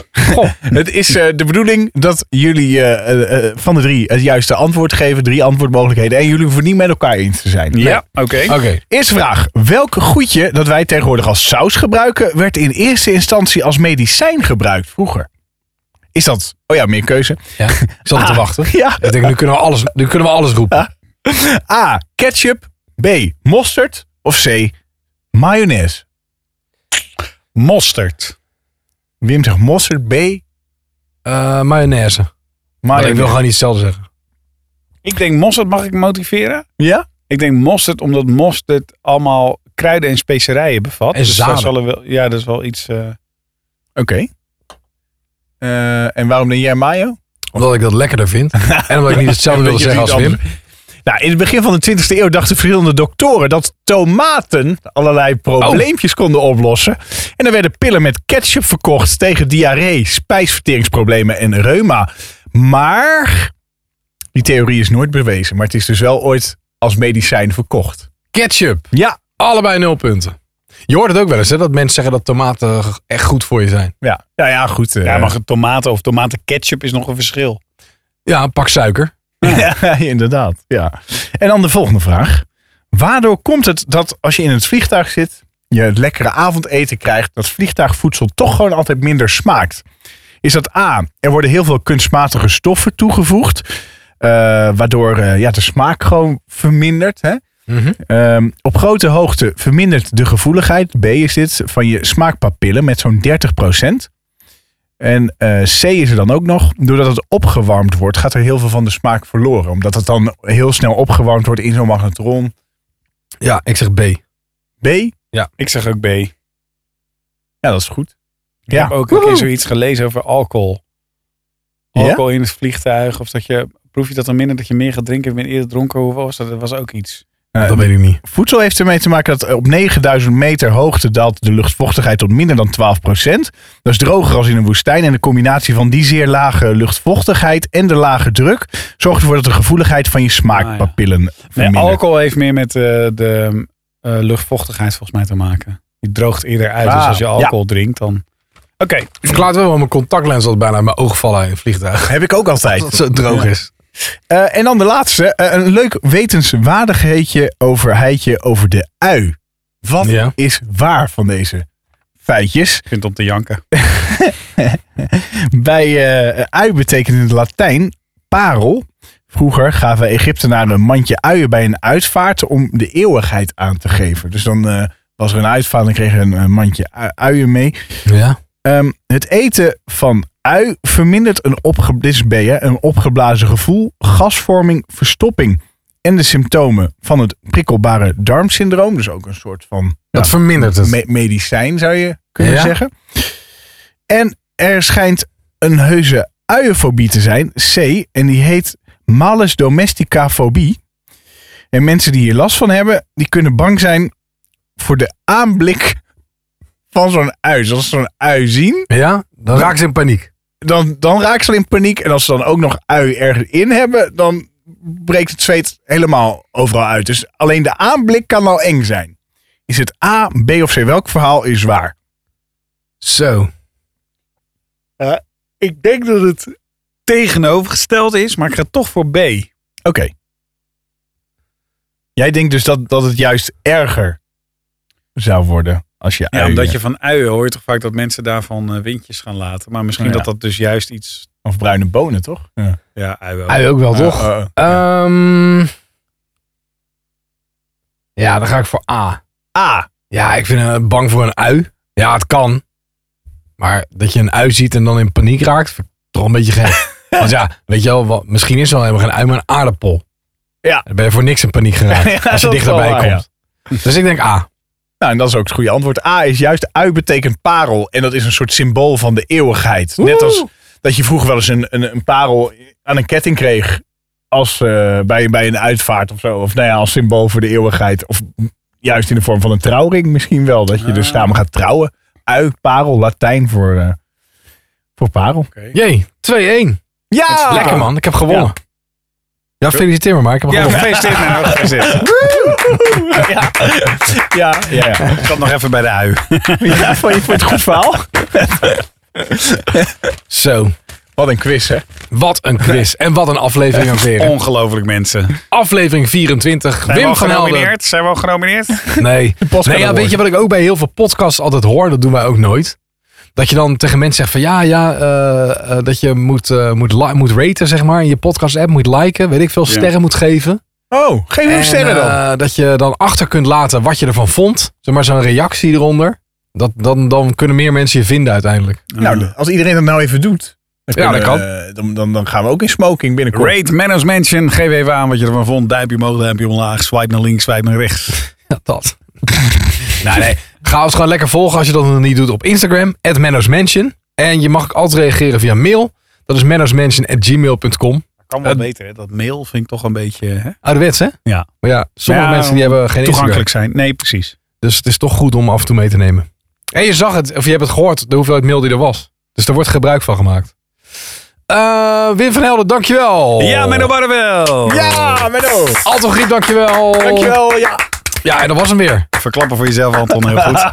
S2: het is eh, de bedoeling dat jullie eh, eh, eh, van de drie het juiste antwoord geven. Drie antwoordmogelijkheden. En jullie hoeven niet met elkaar eens te zijn.
S3: Ja, oké.
S1: Oké.
S2: Eerste vraag. Welk goedje dat wij tegenwoordig als saus gebruiken, werd in eerste instantie als medicijn gebruikt vroeger? Is dat... Oh ja, meer keuze.
S1: Ja, ik zat te wachten.
S2: Ja.
S1: Ik denk, nu kunnen we alles, nu kunnen we alles roepen.
S2: A. Ketchup. B. Mosterd. Of C. Mayonaise.
S3: Mosterd.
S2: Wim zegt mosterd. B.
S1: Eh mayonaise. Maar ik wil
S2: Mayonaise.
S1: gewoon niet hetzelfde zeggen.
S3: Ik denk mosterd, mag ik motiveren?
S2: Ja?
S3: Ik denk mosterd, omdat mosterd allemaal kruiden en specerijen bevat.
S1: En
S3: dat
S1: zaden.
S3: zal er wel, ja, dat is wel iets... eh,
S2: Oké. Eh, en waarom denk jij mayo?
S1: Omdat ik dat lekkerder vind. En omdat ik niet hetzelfde wil
S2: Dat je
S1: zeggen als
S2: het niet
S1: Wim.
S2: anders- Nou, in het begin van de 20e eeuw dachten verschillende doktoren dat tomaten allerlei probleempjes konden oplossen. En er werden pillen met ketchup verkocht tegen diarree, spijsverteringsproblemen en reuma. Maar die theorie is nooit bewezen. Maar het is dus wel ooit als medicijn verkocht.
S1: Ketchup.
S2: Ja,
S1: Allebei nul punten. Je hoort het ook wel eens, hè? Dat mensen zeggen dat tomaten echt goed voor je zijn.
S2: ja, ja, ja goed. eh,
S3: ja, maar het tomaten of tomatenketchup is nog een verschil.
S1: Ja, een pak suiker.
S2: Ja, inderdaad. Ja. En dan de volgende vraag. Waardoor komt het dat als je in het vliegtuig zit, je het lekkere avondeten krijgt, dat vliegtuigvoedsel toch gewoon altijd minder smaakt? Is dat A, er worden heel veel kunstmatige stoffen toegevoegd, eh, waardoor eh, ja, de smaak gewoon vermindert. Hè?
S1: Mhm.
S2: Ehm, op grote hoogte vermindert de gevoeligheid, B is dit, van je smaakpapillen met zo'n 30%. En eh, C is er dan ook nog, doordat het opgewarmd wordt, gaat er heel veel van de smaak verloren. Omdat het dan heel snel opgewarmd wordt in zo'n magnetron.
S1: Ja, ik zeg B.
S2: B, ja
S3: Ik zeg ook B. Ik
S2: dat is goed. Ja.
S3: heb ook een keer zoiets gelezen over alcohol.
S2: Ja?
S3: Alcohol in het vliegtuig. Of dat je, proef je dat dan minder dat je meer gaat drinken. Ik ben eerder dronken. Hoeveel was dat? Dat was ook iets.
S2: Eh,
S1: Dat weet ik niet.
S2: Voedsel heeft ermee te maken dat op 9000 meter hoogte daalt de luchtvochtigheid tot minder dan 12%. Dat is droger als in een woestijn. En de combinatie van die zeer lage luchtvochtigheid en de lage druk zorgt ervoor dat de gevoeligheid van je smaakpapillen
S3: Nee,
S2: vermindert.
S3: alcohol heeft meer met eh, de eh, luchtvochtigheid volgens mij te maken. Die droogt eerder uit. Dus
S2: Ah,
S3: als je alcohol drinkt dan... Oké,
S1: Verklaart wel waarom mijn contactlens altijd bijna uit mijn oog vallen in het vliegtuig.
S2: Heb ik ook altijd.
S1: Dat het zo droog is.
S2: Eh, en dan de laatste. eh, een leuk wetenswaardigheidje over heitje over de ui. Wat
S1: Ja.
S2: is waar van deze feitjes?
S3: Ik vind het om te janken.
S2: Bij eh, ui betekent in het Latijn parel. Vroeger gaven Egyptenaren een mandje uien bij een uitvaart om de eeuwigheid aan te geven. Dus dan eh, was er een uitvaart en kregen een eh, mandje ui- uien mee.
S1: Ja.
S2: Ehm, het eten van ui vermindert een, opge dit is B, hè, een opgeblazen gevoel, gasvorming, verstopping en de symptomen van het prikkelbare darmsyndroom. Dus ook een soort van
S1: Dat
S2: ja,
S1: vermindert het.
S2: me- medicijn zou je kunnen
S1: Ja.
S2: zeggen. En er schijnt een heuse uienfobie te zijn, C, en die heet malus domestica fobie. En mensen die hier last van hebben, die kunnen bang zijn voor de aanblik van zo'n ui. Dus als ze zo'n ui zien,
S1: Ja? Dan raakt ze in paniek.
S2: dan, dan raak ze al in paniek. En als ze dan ook nog ui ergens in hebben, dan breekt het zweet helemaal overal uit. Dus alleen de aanblik kan al eng zijn. Is het A, B of C? Welk verhaal is waar?
S1: Zo.
S3: Eh, Ik denk dat het tegenovergesteld is, maar ik ga toch voor B.
S2: Oké. Jij denkt dus dat, dat het juist erger zou worden als je
S3: Ja,
S2: uien-
S3: omdat je van uien hoort toch vaak dat mensen daarvan eh, windjes gaan laten. Maar misschien
S2: Ja.
S3: dat dat dus juist iets...
S2: Of bruine bonen, toch? Ja.
S3: Ja, uien.
S1: Hij ook wel, toch?
S2: Eh, eh,
S1: Ehm, ja, dan ga ik voor A.
S2: A.
S1: Ja, ik vind eh, bang voor een ui. Ja, het kan. Maar dat je een ui ziet en dan in paniek raakt, vind ik toch een beetje gek. Want ja, weet je wel, wat, misschien is er wel helemaal geen ui, maar een aardappel.
S2: Ja.
S1: Dan ben je voor niks in paniek geraakt als
S2: Ja,
S1: je
S2: dat is
S1: dichterbij
S2: wel waar,
S1: komt. Dus ik denk A.
S2: Nou, en dat is ook het goede antwoord. A is juist ui betekent parel. En dat is een soort symbool van de eeuwigheid. Net als dat je vroeger wel eens een, een, een parel aan een ketting kreeg. Als eh, bij, bij een uitvaart of zo. Of nou ja, als symbool voor de eeuwigheid. Of juist in de vorm van een trouwring misschien wel. Dat je dus samen gaat trouwen. Ui, parel, Latijn voor, eh, voor parel.
S1: Jee, 2-1.
S2: Ja!
S1: Lekker man, ik heb gewonnen. Ja, feliciteer me maar, ik heb
S3: Ja,
S1: gewonnen.
S3: gefeliciteerd nou. Gefeliciteerd.
S2: Ja, ja, ja.
S3: Ik zat nog even bij de ui.
S2: ja vond je vond je het een goed verhaal?
S1: Zo,
S2: Wat een quiz, hè?
S1: wat een quiz en wat een aflevering aan veren.
S3: Ongelooflijk mensen.
S1: Aflevering 24,
S3: Zijn we
S1: Wim
S3: al
S1: van Helden.
S3: genomineerd? Zijn we al genomineerd?
S1: Nee.
S2: podcast
S1: nee ja,
S2: award.
S1: weet je wat ik ook bij heel veel podcasts altijd hoor? Dat doen wij ook nooit. Dat je dan tegen mensen zegt van ja, ja, eh, eh, dat je moet, eh, moet, li- moet raten, zeg maar. In je podcast app moet liken, weet ik veel,
S3: Ja.
S1: sterren moet geven.
S2: Oh, geef hem
S1: En,
S2: sterren dan.
S1: eh, dat je dan achter kunt laten wat je ervan vond. Zeg maar zo'n reactie eronder. Dat, dan, dan kunnen meer mensen je vinden uiteindelijk.
S2: Nou, als iedereen dat nou even doet. Dan
S1: Hm. Ja, dat
S2: kunnen, eh, Dan, dan, dan gaan we ook in smoking binnenkort.
S3: Great Manners Mansion. Geef even aan wat je ervan vond. Duimpje omhoog, duimpje omlaag. Swipe naar links, swipe naar rechts.
S1: Ja, dat. nou, nee. Ga ons gewoon lekker volgen als je dat nog niet doet op Instagram. At En je mag ook altijd reageren via mail. Dat is mannersmansion.gmail.com.
S3: Kan wel beter, hè? Dat mail vind ik toch een beetje hè?
S1: Ouderwets, hè?
S3: Ja.
S1: Maar ja, sommige
S3: Ja,
S1: mensen die hebben geen Instagram.
S3: toegankelijk zijn. Nee, precies.
S1: Dus het is toch goed om af en toe mee te nemen. En je zag het, of je hebt het gehoord, de hoeveelheid mail die er was. Dus daar wordt gebruik van gemaakt. Eh, Wim van Helden, dankjewel.
S3: Ja, Menno Barreveld.
S2: Ja, Menno.
S1: Anton Griep, dankjewel.
S2: Dankjewel. Ja.
S1: Ja, en dat was hem weer.
S3: Verklappen voor jezelf, Anton, heel goed.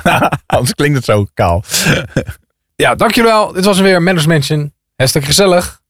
S2: Anders klinkt het zo kaal.
S1: Ja, dankjewel. Dit was hem weer, Management. Mansion. Hashtag gezellig.